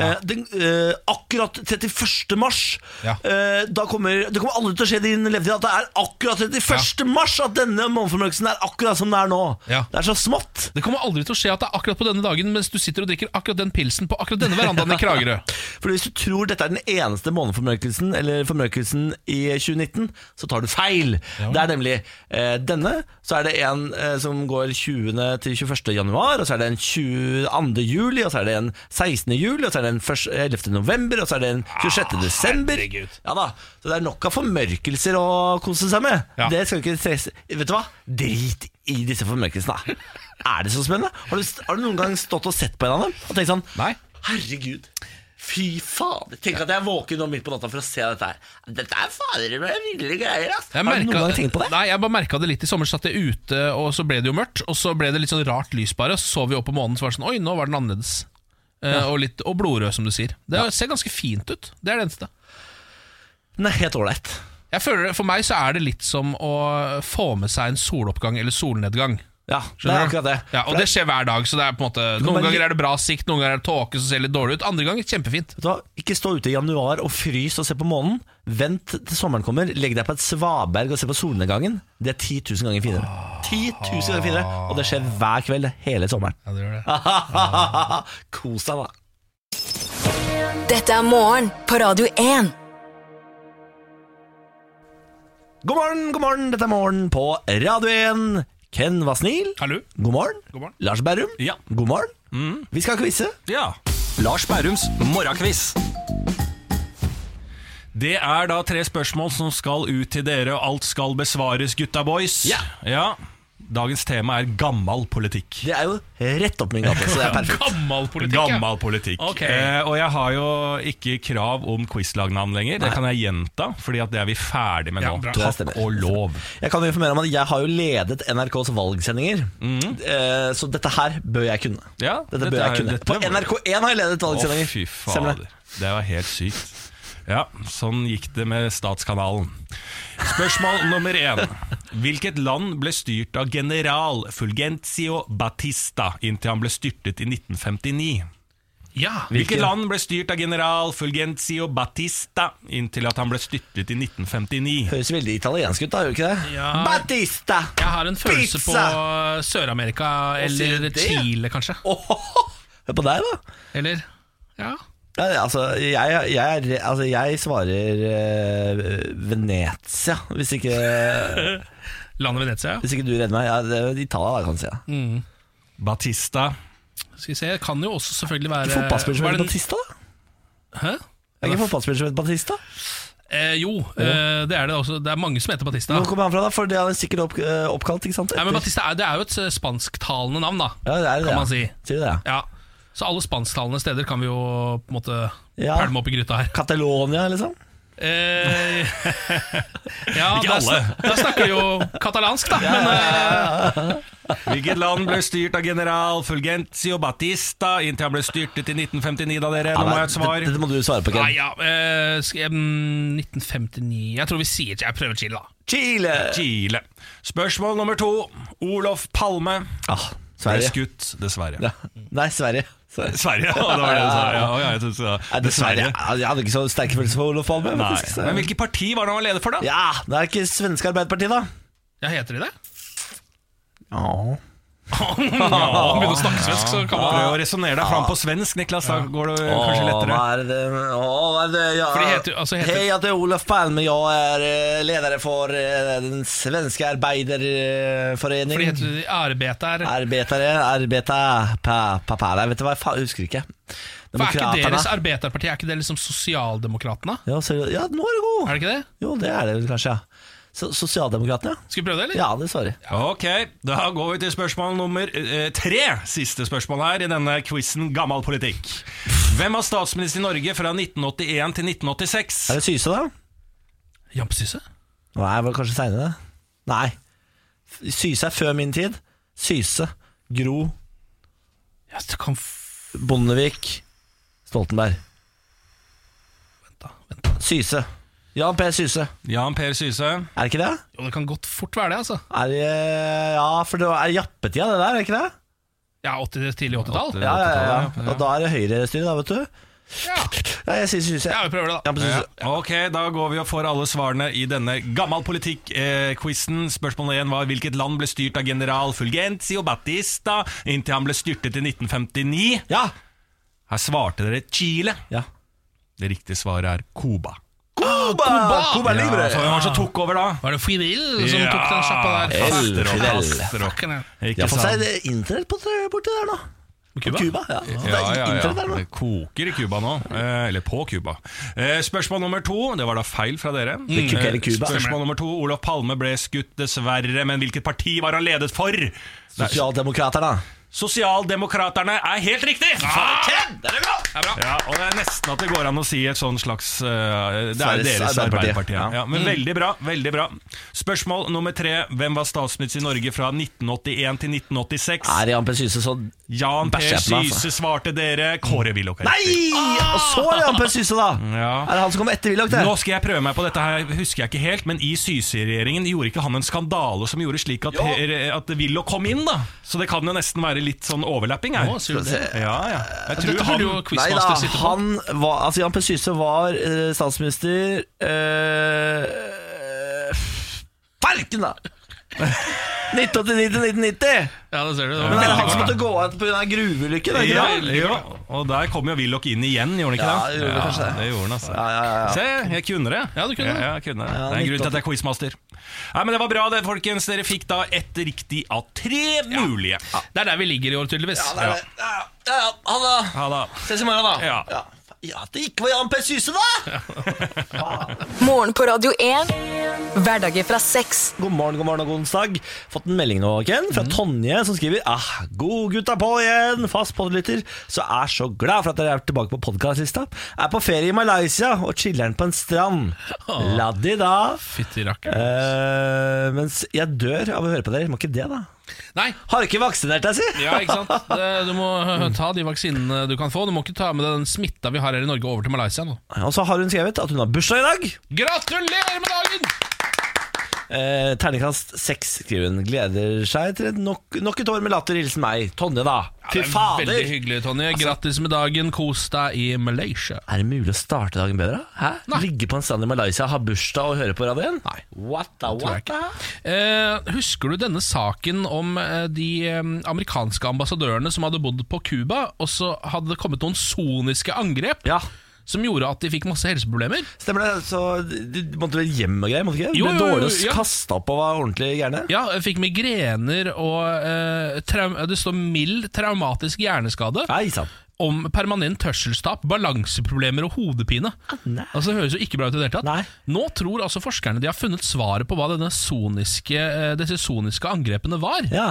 A: eh, den, eh, akkurat 31. mars,
B: Ja.
A: eh, da kommer, det kommer aldri til å skje i din levetid at det er akkurat 31. mars at denne måneformørkelsen er akkurat som det er nå.
B: Ja.
A: Det er så smått.
B: Det kommer aldri til å skje at det er akkurat på denne dagen mens du sitter og drikker akkurat den pilsen på akkurat denne verandaen i Kragerø.
A: For hvis du tror dette er den eneste måneformørkelsen, eller formørkelsen i 2019, så tar du feil. Det er nemlig eh, denne, så er det en eh, som går 20. til 21. januar, og så er det en 22. juli, og så er det en 16. juli, og så er det en 1. 11. november, og så er det en 26. desember.
B: Ah, herregud.
A: Ja da, så det er nok av formørkelser å kose seg med.
B: Ja.
A: Det skal ikke stresse. Vet du hva? Drit i disse formørkelsene. Er det så spennende? Har du, har du noen gang stått og sett på en av dem og tenkt sånn
B: Nei.
A: Herregud. Fy faen. Tenk at jeg er våken nå midt på natta for å se dette her. Dette er fader meg ville greier, ass.
B: Jeg
A: har du noen
B: merka-
A: gang tenkt på det?
B: Nei, jeg bare merka det litt. I sommer satt jeg ute, og så ble det jo mørkt. Og så ble det litt sånn rart lys bare, og så så vi opp på månen, så var det sånn Oi, nå var den annerledes. Eh, og, litt, og blodrød, som du sier. Det ser ganske fint ut. Det er det eneste.
A: Den er helt ålreit.
B: Jeg føler, det- for meg så er det litt som å få med seg en soloppgang eller solnedgang.
A: Ja, det er
B: Skjønner du?
A: akkurat det.
B: Ja, og
A: For
B: det skjer hver dag, så det er på en måte
A: kan
B: noen
A: bare
B: ganger
A: gi-
B: er det bra sikt, noen ganger er det tåke som ser litt dårlig ut, andre ganger kjempefint.
A: Vet du hva? Ikke stå ute i januar og frys og se på månen. Vent til sommeren kommer. Legg deg på et svaberg og se på solnedgangen. Det er 10 000 ganger finere. 10 000 ganger finere Og det skjer hver kveld hele sommeren.
B: Ja, det gjør det.
A: Kos deg, da.
C: Dette er morgen på Radio 1.
A: God morgen, god morgen. Dette er morgen på Radio 1. Ken var snill.
B: Hallo?
A: God morgen.
B: God morgen. Mm.
A: Lars Berrum.
E: Ja.
A: God morgen. Vi skal quize.
E: Ja. Lars Bærums morgenquiz. Det er da tre spørsmål som skal ut til dere, og alt skal besvares, gutta boys.
A: Ja.
E: Dagens tema er gammal politikk.
A: Det er jo rett opp min gate, så det er perfekt.
B: Gammel politikk, ja.
E: Gammal politikk.
B: Ok.
E: Eh, og jeg har jo ikke krav om quizlagnavn lenger. Det kan jeg gjenta, Fordi at det er vi ferdig med
B: Ja,
E: nå.
B: bra.
A: Det
E: Takk
A: stemmer.
E: og lov.
A: Jeg kan jo informere om at jeg har jo ledet NRKs valgsendinger,
B: Mm.
A: Eh, så dette her bør jeg kunne.
E: Ja,
A: dette,
E: dette
A: bør jeg
E: er-
A: kunne.
E: dette
A: På
E: var-
A: NRK1 har jeg ledet valgsendinger.
E: Å, fy
A: Stemmer
E: fader.
A: det?
E: Det var helt sykt. Ja, sånn gikk det med Statskanalen. Spørsmål nummer én. Hvilket land ble styrt av general Fulgencio Batista inntil han ble styrtet i 1959?
B: Ja.
E: Hvilket land ble styrt av general Fulgencio Batista inntil at han ble styrtet i 1959?
A: Høres veldig italiensk ut, da, gjør det ikke det?
B: Ja.
A: Batista!
B: Jeg har en følelse
A: Pizza!
B: på Sør-Amerika
A: sier du
B: eller
A: det?
B: Chile, kanskje.
A: Åhåhå. Hør på deg, da.
B: Eller ja.
A: Ja, det- altså, jeg, jeg, er- altså, jeg svarer eh, Venezia, hvis ikke,
B: landet Venezia. ja.
A: hvis ikke du redder meg. Ja, det er Italia, da, kan jeg si. Ja.
E: Batista
B: Skal vi se, det kan jo også selvfølgelig være
A: Fotballspiller som
B: Var
A: heter
B: det en-
A: Batista, da?
B: Hæ?
A: Er det ikke en fotballspiller som heter Batista?
B: Eh, jo, eh, det er det også. Det er mange som heter Batista.
A: Hvor kommer han fra, da? For det er sikkert opp, eh, oppkalt, ikke sant?
B: Nei, Ah. men
A: Etter-
B: Batista er, det er jo et eh, spansktalende navn, da.
A: ja, det er det,
B: kan
A: ja.
B: man si.
A: Sier du det, ja.
B: Ja. Så alle spansktalende steder kan vi jo på en måte
A: Ja.
B: pælme opp i gryta her.
A: Catalonia, liksom?
B: Eh, ja,
E: Ikke
B: da
E: alle.
B: sn- Da snakker de jo katalansk, da. Men eh,
E: Hvilket land ble styrt av general Fulgencio Batista inntil han ble styrtet i 1959, da, dere? Nå må jeg ha et
A: Dette-
E: svar.
A: Dette må du svare på,
B: nei,
A: Ken.
B: ja, eh, skal jeg, mm, 1959 Jeg tror vi sier Jeg prøver Chile, da.
A: Chile!
E: Chile. Spørsmål nummer to. Olof Palme
A: Ah,
E: ble
A: Sverige.
E: skutt, dessverre.
A: Ja. Nei, Sverige. Sverige.
E: Sverige, ja, det var det du sa. Ja, ja, jeg synes det var-
A: Nei, dessverre. Ja, Jeg hadde ikke så sterke følelser for Olof Palme.
E: Nei.
A: faktisk.
E: Men hvilket parti var det han var leder for, da?
A: Ja, det er ikke svenske Arbeiderpartiet, da.
B: Ja, heter de det?
A: Ja.
B: Om begynner å snakke svensk, så kan man
E: Prøv å resonnere deg fram på svensk, Niklas. Da går det kanskje lettere.
A: Hva er det, åh, hva er det ja.
B: For det heter- altså heter-
A: Hei, jeg heter Olof Palme. Jeg er eh, leder for eh, den svenske arbeiderforening.
B: For det heter arbete her.
A: Arbeitere, arbeita, pa, pa, pa. Nei, vet du hva, faen, jeg husker ikke.
B: For er ikke
A: Demokraterna.
B: deres arbeiderparti Er ikke det liksom Sosialdemokratene?
A: ja, så, ja, nå er du god.
B: Er det ikke det?
A: Jo, det er det vel kanskje, ja. Så, Sosialdemokratene?
B: Skal vi prøve det, eller?
A: Ja, det svarer.
E: Ok, da går vi til spørsmål nummer eh, tre. Siste spørsmål her i denne quizen Gammal politikk. Hvem var statsminister i Norge fra 1981 til 1986?
A: Er det Syse, da?
B: Jan Syse?
A: Nei, det var kanskje seinere. Nei. Syse er før min tid. Syse, Gro,
B: Ja, det kan f...
A: Bondevik, Stoltenberg.
B: Vent da, vent da.
A: Syse. Jan P. Syse.
E: Jan Per Syse.
A: Er det ikke det?
B: Jo, det kan godt fort være det, altså.
A: Er det ja, for det er jappetida, det der, er det ikke det?
B: Ja, 80, tidlig 80-tall.
A: Ja, ja, ja.
E: Ja.
A: Og da er det høyrestyre, da, vet du.
B: Ja.
A: Ja, jeg sier Syse.
B: ja, vi prøver det, da.
A: Jan P. Syse.
E: Ok, da går vi og får alle svarene i denne Gammal politikk-quizen. Spørsmålet én var hvilket land ble styrt av general Fulgencio Batista inntil han ble styrtet i 1959.
A: Ja!
E: Her svarte dere Chile.
A: ja. Ah,
E: Det riktige svaret er Cuba.
A: Cuba! Cuba
E: Ja,
A: Libre!
E: for hvem var det som tok over da?
B: Var det Fidel som tok den sjappa der?
A: Ja, El
B: Fast.
E: Fastero,
A: Fidel.
E: fastero.
B: Fucking hell.
A: De
E: Ikke
A: har fått seg
E: sant?
A: det internett på tre- borti der nå.
B: Cuba?
A: Cuba ja. Det
E: Ja,
A: er
E: ja, ja.
A: internett der nå.
E: Det koker i Cuba nå. Eh, eller på Cuba. Eh, spørsmål nummer to. Det var da feil fra dere.
A: Det koker i
E: Eh,
A: Cuba.
E: Spørsmål nummer to. Olof Palme ble skutt, dessverre. Men hvilket parti var han ledet for? Det er-
A: Sosialdemokraterne.
E: Sosialdemokraterne er helt riktig!
A: Ken, det er bra!
B: Det er bra.
E: Ja, og Det er nesten at det går an å si et sånn slags eh, Det er
A: Sveriges
E: deres
A: Arbeiderparti.
E: Arbeiderparti. Ja. Ja,
A: Mm.
E: men veldig bra. veldig bra Spørsmål nummer tre. Hvem var statsminister i Norge fra 1981 til 1986?
A: Er Jan P. Syse så
E: Jan P.
A: Bæsjer på meg, altså.
E: Syse svarte dere. Kåre Willoch. er
A: Nei!
E: riktig.
A: Og så er det Jan P. Syse, da!
E: Ah! Ja.
A: Er det han som kom etter Willoch, det?
E: Nå skal jeg prøve meg på dette her, husker jeg ikke helt, men i Syse-regjeringen gjorde ikke han en skandale som gjorde slik at, at Willoch kom inn, da. Så det kan jo nesten være litt sånn overlapping her.
B: Å, sier du det?
E: Ja, ja. Jeg tror
B: Dette
E: han
B: burde jo
A: Nei da,
B: Quizmaster sitte på.
A: han var Altså Jan P. Syse var eh, statsminister eh, Farken, da! 1989 til 1990!
B: Ja, det ser du. Det var
A: Men det er
B: veldig
A: han som
B: godt.
A: måtte gå av pga. gruveulykken? er det
E: ja,
A: ikke det?
E: ja, og der kom jo Willoch inn igjen, gjorde han ikke
A: Ja,
E: det?
A: det gjorde kanskje det.
E: gjorde han, altså.
A: Ja, ja, ja, ja.
E: Se, jeg kunne det.
B: Ja, du kunne det.
E: Ja, jeg kunne det.
A: Ja,
E: det er en grunn
A: 1980.
E: til at jeg er quizmaster. Nei, men Det var bra, det, folkens. Dere fikk da ett riktig av tre mulige.
B: Det er der vi ligger i år, tydeligvis.
A: Ja, det er det. Ja, ja, ja. Ha det!
E: Ha da.
A: Ses i morgen, da.
E: Ja.
A: Ja. Ja, at det ikke var Jan P. Syse, da!
C: Morgen på Radio 1. Hverdager fra seks.
A: God morgen, god morgen og god onsdag. Fått en melding nå, Ken, fra
B: Mhm.
A: Tonje, som skriver ah, God gutta på igjen, fast podlytter. Så er så glad for at dere er tilbake på podkastlista. Er på ferie i Malaysia og chiller'n på en strand. Laddi da.
B: Fytti rakkeren.
A: Eh, mens jeg dør av å høre på dere. Må ikke det, da.
B: Nei.
A: Har du ikke vaksinert deg, si?
B: Ja, ikke sant? Det- Du må øh, ta de vaksinene du kan få. Du må ikke ta med deg den smitta vi har her i Norge over til Malaysia nå.
A: Og så har hun skrevet at hun har bursdag i dag.
B: Gratulerer med dagen!
A: Eh, terningkast seks, skriver hun. Gleder seg til et nok, nok et år med latter. Hilsen meg. Tonje, da. Fy
B: Det er
A: fader! Altså-
B: Veldig hyggelig, Tonje. Grattis med dagen. Kos deg i Malaysia.
A: Er det mulig å starte dagen bedre? Hæ? Ligge på en strand i Malaysia, ha bursdag og høre på radioen? Nei. What the,
B: jeg
A: what the?
B: Eh, husker du denne saken om eh, de eh, amerikanske ambassadørene som hadde bodd på Cuba, og så hadde det kommet noen soniske angrep
A: Ja,
B: som gjorde at de fikk masse helseproblemer?
A: stemmer det. Så du du måtte vel hjem og greier? måtte du ikke?
B: Jo,
A: Ble
B: jo, jo,
A: dårlig
B: ja.
A: å kaste opp og var ordentlig gærne?
B: Ja, jeg fikk migrener og eh, traum Det står mild traumatisk hjerneskade.
A: Nei sann.
B: om permanent hørselstap, balanseproblemer og hodepine.
A: Ah, nei.
B: Altså, det høres jo ikke bra ut i det hele tatt.
A: Nei.
B: Nå tror altså forskerne de har funnet svaret på hva denne soniske, eh, disse soniske angrepene var.
A: Ja.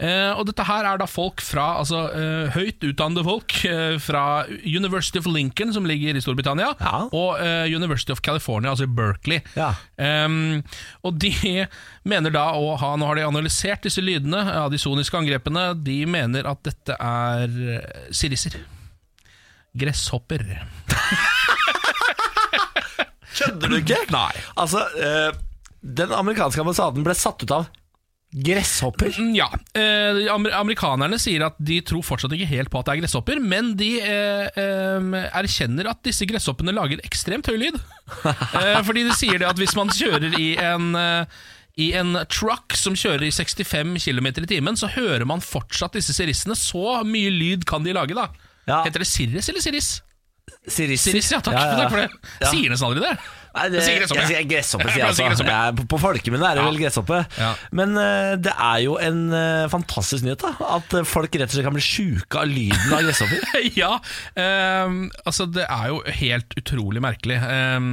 B: Eh, og dette her er da folk fra altså, eh, høyt utdannede folk eh, fra University of Lincoln, som ligger i Storbritannia,
A: Ja.
B: og eh, University of California, altså i Berkeley.
A: Ja.
B: Ehm, og de mener da å ha Nå har de analysert disse lydene av de soniske angrepene. De mener at dette er eh, sirisser. Gresshopper.
A: Kødder du ikke? Nei. Altså, eh, den amerikanske ambassaden ble satt ut av gresshopper.
B: Mm, Ja. Eh, de amer amerikanerne sier at de tror fortsatt ikke helt på at det er gresshopper, men de eh, em, erkjenner at disse gresshoppene lager ekstremt høy lyd. eh, fordi de sier det at hvis man kjører i en eh, i en truck som kjører i 65 km i timen, så hører man fortsatt disse sirissene. Så mye lyd kan de lage, da.
A: Ja.
B: Heter det Sirris eller Sirris?
A: Siris.
B: Sirris, ja. Takk, takk for det. Sier nesten aldri det.
A: Nei, det,
B: Jeg sier gresshoppe.
A: Jeg sier gresshoppe, sier
B: Jeg
A: jeg
B: pleier å
A: altså.
B: si gresshoppe.
A: Jeg er på på folkemunne er det
B: Ja.
A: vel gresshoppe.
B: Ja.
A: Men eh, det er jo en eh, fantastisk nyhet, da. At eh, folk rett og slett kan bli sjuke av lyden av gresshopper.
B: ja, ehm, altså det er jo helt utrolig merkelig. Ehm,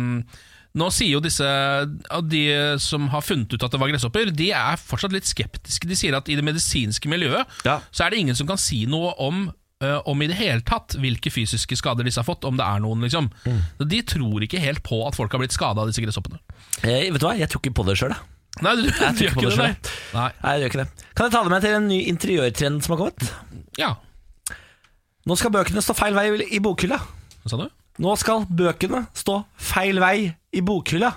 B: nå sier jo disse av de som har funnet ut at det var gresshopper, de er fortsatt litt skeptiske. De sier at i det medisinske miljøet
A: Ja.
B: så er det ingen som kan si noe om eh, om i det hele tatt hvilke fysiske skader disse har fått, om det er noen, liksom.
A: Mm.
B: Så De tror ikke helt på at folk har blitt skada av disse gresshoppene.
A: Eh, vet du hva, jeg tror ikke på det sjøl, jeg.
B: Nei, du,
A: Jeg
B: du
A: tror
B: gjør
A: ikke på
B: ikke
A: det
B: det,
A: selv.
B: nei. nei.
A: Nei, jeg gjør ikke det. Kan jeg ta det med til en ny interiørtrend som har kommet?
B: Ja,
A: Nå skal bøkene stå feil vei i bokhylla.
B: hva sa du?
A: Nå skal bøkene stå feil vei i bokhylla,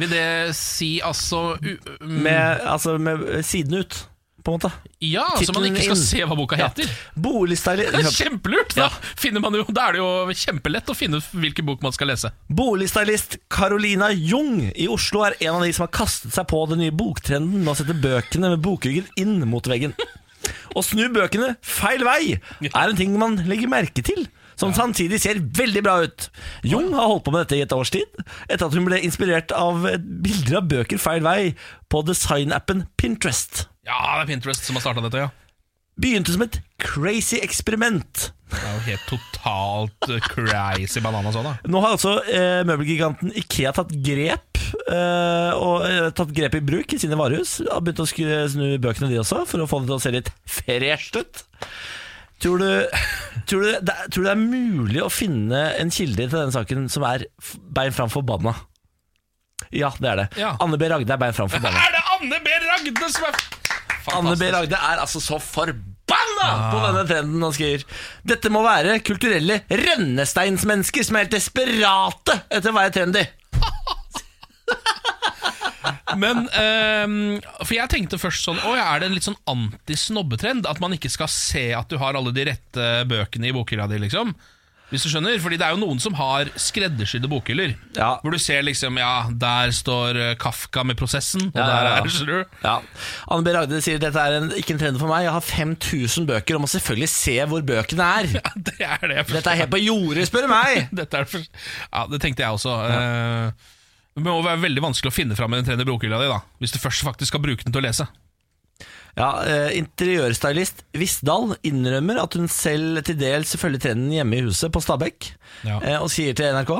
B: Vil det si altså u um,
A: med, altså med eh, siden ut, på en måte.
B: Ja, så man
A: tittelen
B: ikke skal
A: inn.
B: se hva boka
A: Ja.
B: heter? Det er
A: Boligstylist
B: kjempelurt! Da, finner man jo, da er det jo kjempelett å finne ut hvilken bok man skal lese.
A: Boligstylist Carolina Jung i Oslo er en av de som har kastet seg på den nye boktrenden med å sette bøkene med bokryggen inn mot veggen. Å snu bøkene feil vei er en ting man legger merke til, som samtidig ser veldig bra ut. Jung har holdt på med dette i et års tid, etter at hun ble inspirert av bilder av bøker feil vei på designappen Pinterest.
B: Ja, det er Pinterest som har starta dette, ja.
A: Begynte som et crazy eksperiment.
B: Det er jo helt totalt eh, crazy banana sånn, da.
A: Nå har altså eh, møbelgiganten Ikea tatt grep eh, Og eh, tatt grep i bruk i sine varehus Har begynt å skru, snu bøkene de også For å få det til å se litt fresht ut tror du, tror, du, det, tror du det er mulig å finne en kilde til denne saken Som er f- bein fram forbanna? Ja, det er det
B: Ja.
A: Anne B. Ragde er bein fram forbanna
B: Er det Anne B. Ragde som er Fantastisk. Ah.
A: Anne B. Ragde er altså så forbanna på denne trenden han skriver. Dette må være kulturelle rønnesteinsmennesker som er helt desperate etter å være trendy.
B: Men ehm, For jeg tenkte først sånn Å ja, er det en litt sånn antisnobbetrend? At man ikke skal se at du har alle de rette bøkene i bokhylla di, liksom? Hvis du skjønner? Fordi det er jo noen som har skreddersydde bokhyller.
A: Ja.
B: Hvor du ser liksom Ja, der står eh, Kafka med prosessen, og
A: Ja, ja,
B: der
A: ja.
B: er det skjønner du.
A: Ja. Anne B. Ragde sier dette er en, ikke en trend for meg. Jeg har 5000 bøker og må selvfølgelig se hvor bøkene er.
B: Ja, det er det jeg forstår.
A: Dette er helt på jordet, spør du meg!
B: Dette er det for... Ja, det tenkte jeg også. Eh, Det må være veldig vanskelig å finne fram i den tredje bokhylla di, da. Hvis du først faktisk skal bruke den til å lese.
A: Ja, eh, Interiørstylist Visdal innrømmer at hun selv til dels følger trenden hjemme i huset på Stabekk,
B: Ja.
A: eh, og sier til NRK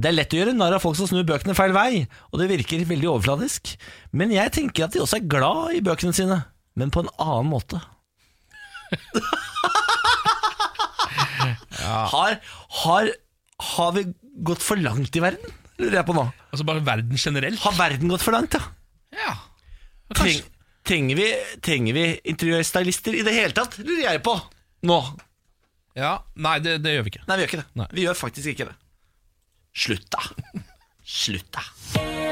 A: det er lett å gjøre narr av folk som snur bøkene feil vei, og det virker veldig overfladisk. Men jeg tenker at de også er glad i bøkene sine, men på en annen måte. har, har, har vi gått for langt i verden, lurer jeg på nå.
B: Altså bare verden generelt.
A: Har verden gått for langt, ja?
B: Ja.
A: Treng,
B: Kanskje.
A: trenger, vi, trenger vi interiørstylister i det hele tatt, lurer jeg på. Nå.
B: Ja. Nei, det, det gjør vi ikke.
A: Nei, vi gjør ikke det.
B: Nei.
A: Vi gjør faktisk ikke det. Slutt, da. Slutt, da.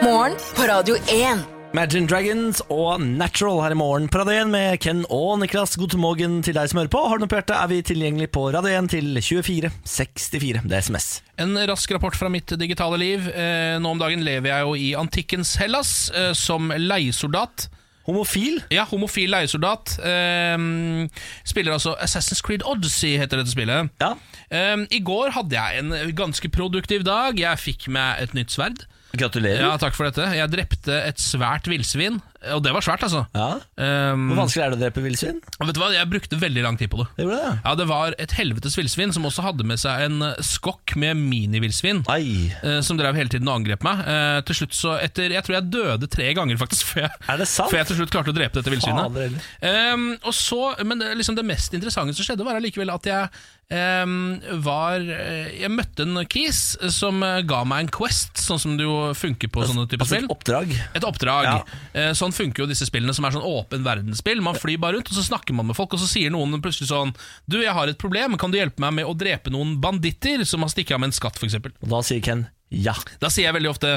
C: Morgen på Radio 1.
A: Imagine Dragons og Natural her i morgen på Radio 1 med Ken og Niklas. God morgen til deg som hører på. Har du noe på hjertet, er vi tilgjengelig på Radio 1 til 2464. Det er SMS.
B: En rask rapport fra mitt digitale liv. Eh, Nå om dagen lever jeg jo i antikkens Hellas eh, som leiesoldat.
A: Homofil?
B: Ja, homofil leiesoldat. Ehm, spiller altså Assassin's Creed Odyssey, heter dette spillet.
A: Ja.
B: Ehm, I går hadde jeg en ganske produktiv dag. Jeg fikk meg et nytt sverd.
A: Gratulerer.
B: Ja, takk for dette. Jeg drepte et svært villsvin, og det var svært, altså.
A: Ja.
B: Ehm,
A: Hvor vanskelig er det å drepe villsvin?
B: og vet du hva, jeg brukte veldig lang tid på det.
A: Det gjorde det.
B: Ja, Det var et helvetes villsvin som også hadde med seg en eh, skokk med minivillsvin.
A: Ai.
B: eh, Som drev hele tiden og angrep meg. Eh, til slutt så etter, Jeg tror jeg døde tre ganger, faktisk. Før jeg,
A: Er det sant?
B: Før jeg til slutt klarte å drepe dette villsvinet.
A: Fader heller.
B: Ehm, og så, men det, liksom det mest interessante som skjedde, var allikevel at jeg ehm, var eh, Jeg møtte en kis som eh, ga meg en quest, sånn som det jo funker på sånne typer
A: Altså
B: spill.
A: et oppdrag.
B: Et oppdrag.
A: Ja.
B: Eh, Sånn funker jo disse spillene som er sånn åpen verdensspill. Man flyr bare rundt, og så snakker man med folk, og så sier noen plutselig sånn Du, jeg har et problem, kan du hjelpe meg med å drepe noen banditter som har stikket av med en skatt, f.eks.?
A: Og da sier Ken Ja.
B: Da sier jeg veldig ofte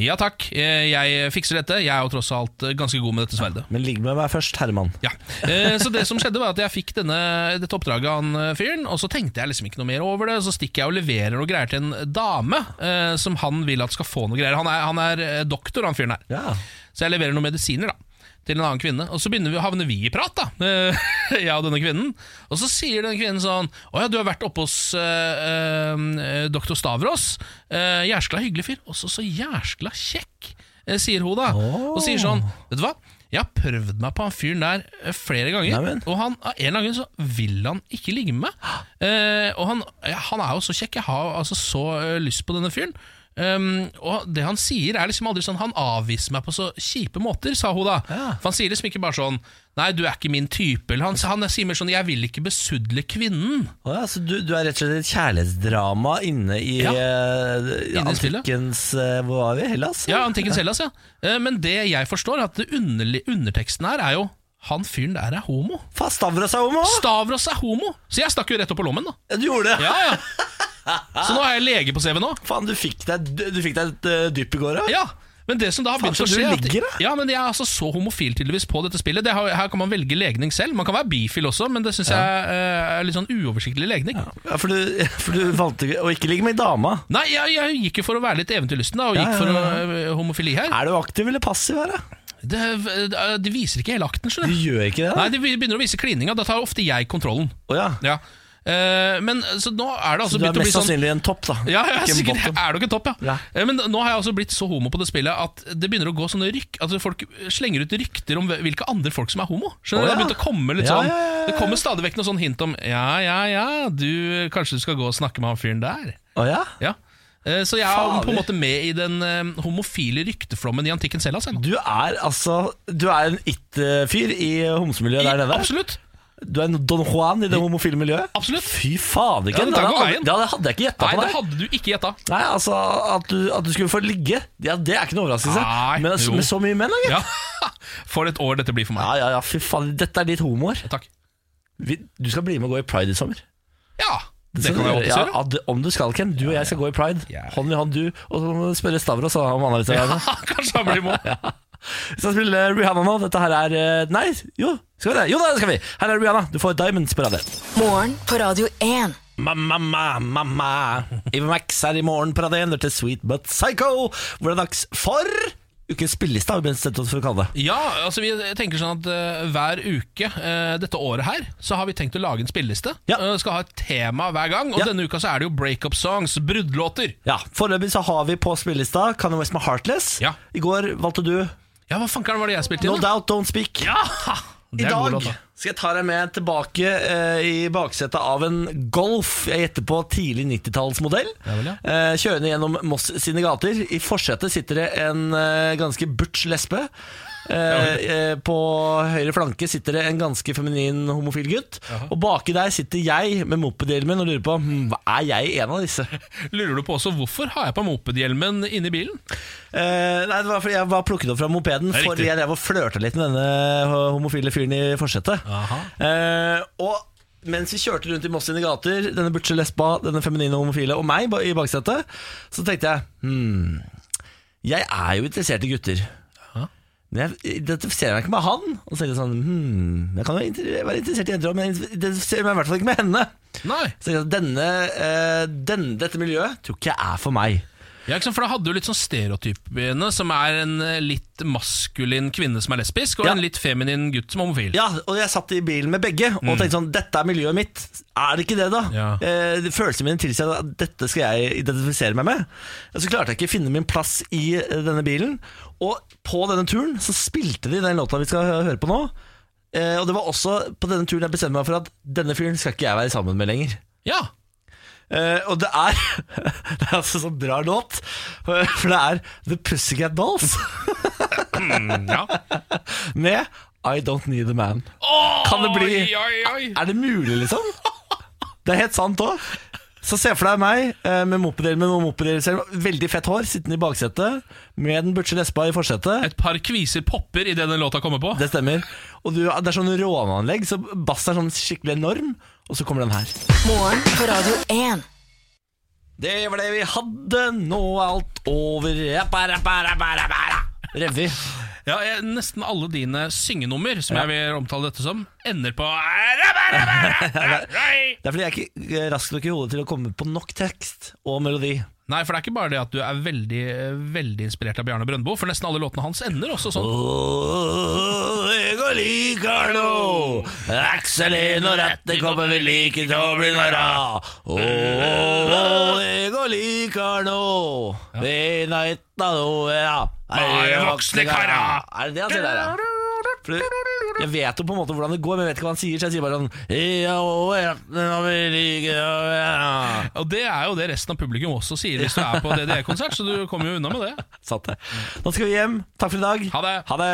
B: ja takk, eh, jeg fikser dette. Jeg er jo tross alt eh, ganske god med dette sverdet.
A: Men ligg med meg først, Herman.
B: Ja. Eh, Så det som skjedde, var at jeg fikk denne, dette oppdraget av han eh, fyren, og så tenkte jeg liksom ikke noe mer over det. Så stikker jeg og leverer noe greier til en dame eh, som han vil at skal få noe greier. Han er, han er eh, doktor, han fyren her.
A: Ja.
B: Så jeg leverer noen medisiner da til en annen kvinne, og så begynner vi, havner vi i prat, da. eh, Jeg og denne kvinnen. Og så sier denne kvinnen sånn Å ja, du har vært oppe hos uh, doktor Stavros. Uh, jæskla hyggelig fyr. Og så så jæskla kjekk, eh, sier hun da. Og sier sånn Vet du hva, jeg har prøvd meg på han fyren der eh, flere ganger,
A: Neimen.
B: og han, av en eller annen grunn så vil han ikke ligge med meg. Eh, og han, ja, han er jo så kjekk, jeg har altså så eh, lyst på denne fyren. Um, og det han sier er liksom aldri sånn Han avviser meg på så kjipe måter, sa hun da. For han sier liksom ikke bare sånn Nei, du er ikke min type. Eller han, han sier mer sånn Jeg vil ikke besudle kvinnen.
A: Å ja, så du, du er rett og slett et kjærlighetsdrama inne i
B: Ja.
A: eh,
B: Inne i spillet.
A: antikkens eh, Hvor var vi? Hellas?
B: Ja, antikkens Hellas, ja. Eh, men det jeg forstår, er at det underli, underteksten her er jo han fyren der er homo.
A: Faen, Stavros er homo!
B: Stavros er homo! Så jeg stakk jo rett opp på lommen, da.
A: Ja, du gjorde det!
B: Ja, ja. Så nå er jeg lege på CV nå.
A: Faen, du fikk deg, du fikk deg et eh, dypp i går, ja?
B: Ja, men det som da har
A: Faen,
B: begynt å
A: så du
B: skje er at-
A: ligger, da?
B: Ja, men jeg er altså så homofil tydeligvis på dette spillet. Det har, her kan man velge legning selv. Man kan være bifil også, men det syns jeg eh, er litt sånn uoversiktlig legning.
A: Ja, for, du, for du valgte å ikke ligge med dama.
B: Nei, jeg, jeg gikk jo for å være litt eventyrlysten, da, og gikk
A: ja,
B: for
A: ja.
B: eh, homofili her.
A: Er du aktiv eller passiv her, da?
B: Det, det- de viser ikke hele akten,
A: Du
B: skjønner du.
A: gjør ikke det? da?
B: Nei, de begynner å vise klininga. Da tar ofte jeg kontrollen.
A: Å ja.
B: Ja. Eh, men så nå er det altså
A: du er
B: begynt å bli
A: mest
B: sånn
A: sannsynlig en topp, da.
B: Ja, ja
A: Ikke en
B: sikkert
A: bottom.
B: er du ikke topp, ja.
A: Ja.
B: Eh, Men nå har jeg altså blitt så homo på det spillet at det begynner å gå sånne rykk Altså Folk slenger ut rykter om hvil- hvilke andre folk som er homo. Skjønner du?
A: Å,
B: Det har
A: ja.
B: begynt å komme litt
A: Ja,
B: sånn
A: ja, ja, ja.
B: Det kommer stadig vekk noe sånn hint om Ja, ja, ja, du kanskje du skal gå og snakke med han fyren der.
A: Å ja?
B: Ja Eh, Så jeg er
A: Fader.
B: på en måte med i den eh, homofile rykteflommen i antikken selv. Altså.
A: Du er altså Du er en it-fyr i homsemiljøet der nede.
B: Absolutt!
A: Du er en Don Juan i det homofile miljøet.
B: Absolutt.
A: Fy fader,
B: Ja,
A: Ken. det,
B: det tar
A: hadde,
B: ikke veien.
A: det hadde- hadde jeg ikke gjetta
B: Nei,
A: på
B: det
A: deg.
B: hadde du ikke gjetta.
A: Nei, altså At du, at du skulle få ligge, ja, det er ikke noen overraskelse.
B: Nei,
A: Men altså,
B: jo.
A: med så mye menn, da, gitt.
B: Ja. For et år dette blir for
A: Ja,
B: meg.
A: ja, ja, fy faen. Dette er ditt homoår.
B: Takk.
A: Vi- Du skal bli med og gå i pride i sommer.
B: Ja, det
A: skal
B: kan
A: du
B: jeg
A: gjøre. ja,
B: oppsummere.
A: at- Om du skal, Ken. Du og jeg skal gå i pride.
B: Ja.
A: Hånd i hånd, du. Og så må du spørre Stavros om han har lyst til å være med.
B: Kanskje han blir homo.
A: Vi skal spille Rihanna nå. Dette her er eh, Nei, jo, skal vi det? Jo da, det skal vi! Her er Rihanna. Du får Diamonds på radioen.
C: Morgen på Radio 1.
A: Mamma, mamma, mamma. Eva Max er i morgen på radioen. Dette er Sweet But Psycho. Hvor det er dags for ukens spilleliste, har vi bestemt oss for å kalle det.
B: Ja, altså vi tenker sånn at eh, hver uke eh, dette året her, så har vi tenkt å lage en spilleliste.
A: Ja.
B: Eh, skal ha et tema hver gang, og
A: Ja.
B: denne uka så er det jo breakup songs, bruddlåter.
A: Ja, Foreløpig så har vi på spillelista Kanye West med Heartless.
B: Ja.
A: I går valgte du
B: Ja, hva fankeren var det jeg spilte
A: No
B: inn? da?
A: Doubt Don't Speak.
B: Ja!
A: I
B: Det er god
A: dag
B: låt, da.
A: skal jeg ta deg med tilbake eh, i baksetet av en Golf. Jeg gjetter på tidlig 90-tallsmodell.
B: Ja vel, ja.
A: eh, kjørende gjennom Moss sine gater. I forsetet sitter det en eh, ganske butch lesbe. Eh, eh, på høyre flanke sitter det en ganske feminin homofil gutt. Og baki der sitter jeg med mopedhjelmen og lurer på hm, hva er jeg en av disse.
B: Lurer du på også hvorfor har jeg på mopedhjelmen inni bilen?
A: Eh, nei, det var fordi jeg var plukket opp fra mopeden
B: Det er
A: fordi
B: riktig.
A: jeg drev og flørta litt med denne eh, homofile fyren i forsetet. Eh, og mens vi kjørte rundt i Moss sine gater, denne butche lesba, denne feminine homofile og meg ba- i baksetet, så tenkte jeg hmm, Jeg er jo interessert i gutter. Men jeg identifiserer meg ikke med han. Og så tenkte jeg sånn hmm, Jeg kan jo inter- være interessert i jenter òg, men jeg identifiserer meg i hvert fall ikke med henne.
B: Nei.
A: Så tenkte jeg at denne, eh, den- dette miljøet tror ikke jeg er for meg.
B: Ja, ikke sant? For da hadde du litt sånn stereotypene, som er en eh, litt maskulin kvinne som er lesbisk, og
A: Ja.
B: en litt feminin gutt som er homofil.
A: Ja, og jeg satt i bilen med begge og tenkte sånn Dette er miljøet mitt. Er det ikke det, da?
B: Ja.
A: Eh, følelsene mine tilsier at dette skal jeg identifisere meg med. Og så klarte jeg ikke å finne min plass i eh, denne bilen. Og på denne turen så spilte de den låta vi skal hø- høre på nå. Eh, og det var også på denne turen jeg bestemte meg for at denne fyren skal ikke jeg være sammen med lenger.
B: Ja.
A: Eh, og det er Det er altså så bra låt, for det er The Pussycat Dolls
B: Mm, ja.
A: med I Don't Need A Man. Kan det bli
B: Oi, oi, oi.
A: Er det mulig, liksom? Det er helt sant òg. Så se for deg meg eh, med mopedhjelmen og mopedhjelmen, veldig fett hår, sittende i baksetet, med den butche lesba i forsetet.
B: Et par kviser popper idet den låta kommer på.
A: Det stemmer. Og du, det er sånn råneanlegg, så bassen er sånn skikkelig enorm, og så kommer den her.
C: Morgen på Radio 1.
A: Det var det vi hadde, nå er alt over. Rappa, rappa, rappa, rappa, rappa. Revy.
B: Ja, jeg, Nesten alle dine syngenummer, som jeg vil omtale dette som, ender på Nei,
A: Det er fordi jeg er ikke rask nok i hodet til å komme på nok tekst og melodi.
B: for det er ikke bare det at du er veldig veldig inspirert av Bjarne Brøndbo, for nesten alle låtene hans ender også sånn.
A: Åh, jeg liker nå Aksel inn og rette kommer vi like til å bli narra Åh, jeg liker nå Vi nøyta nå, ja
B: Bare voksne kara.
A: Er det det han sier der, ja? For du- jeg vet jo på en måte hvordan det går, men jeg vet ikke hva han sier, så jeg sier bare sånn «Ja, åh, jeg kommer vi like til å bli narra».
B: Og Det er jo det resten av publikum også sier hvis du er på DDE-konsert, så du kommer jo unna med det.
A: Satt det. Nå skal vi hjem. Takk for i dag.
B: Ha det.
A: Ha det.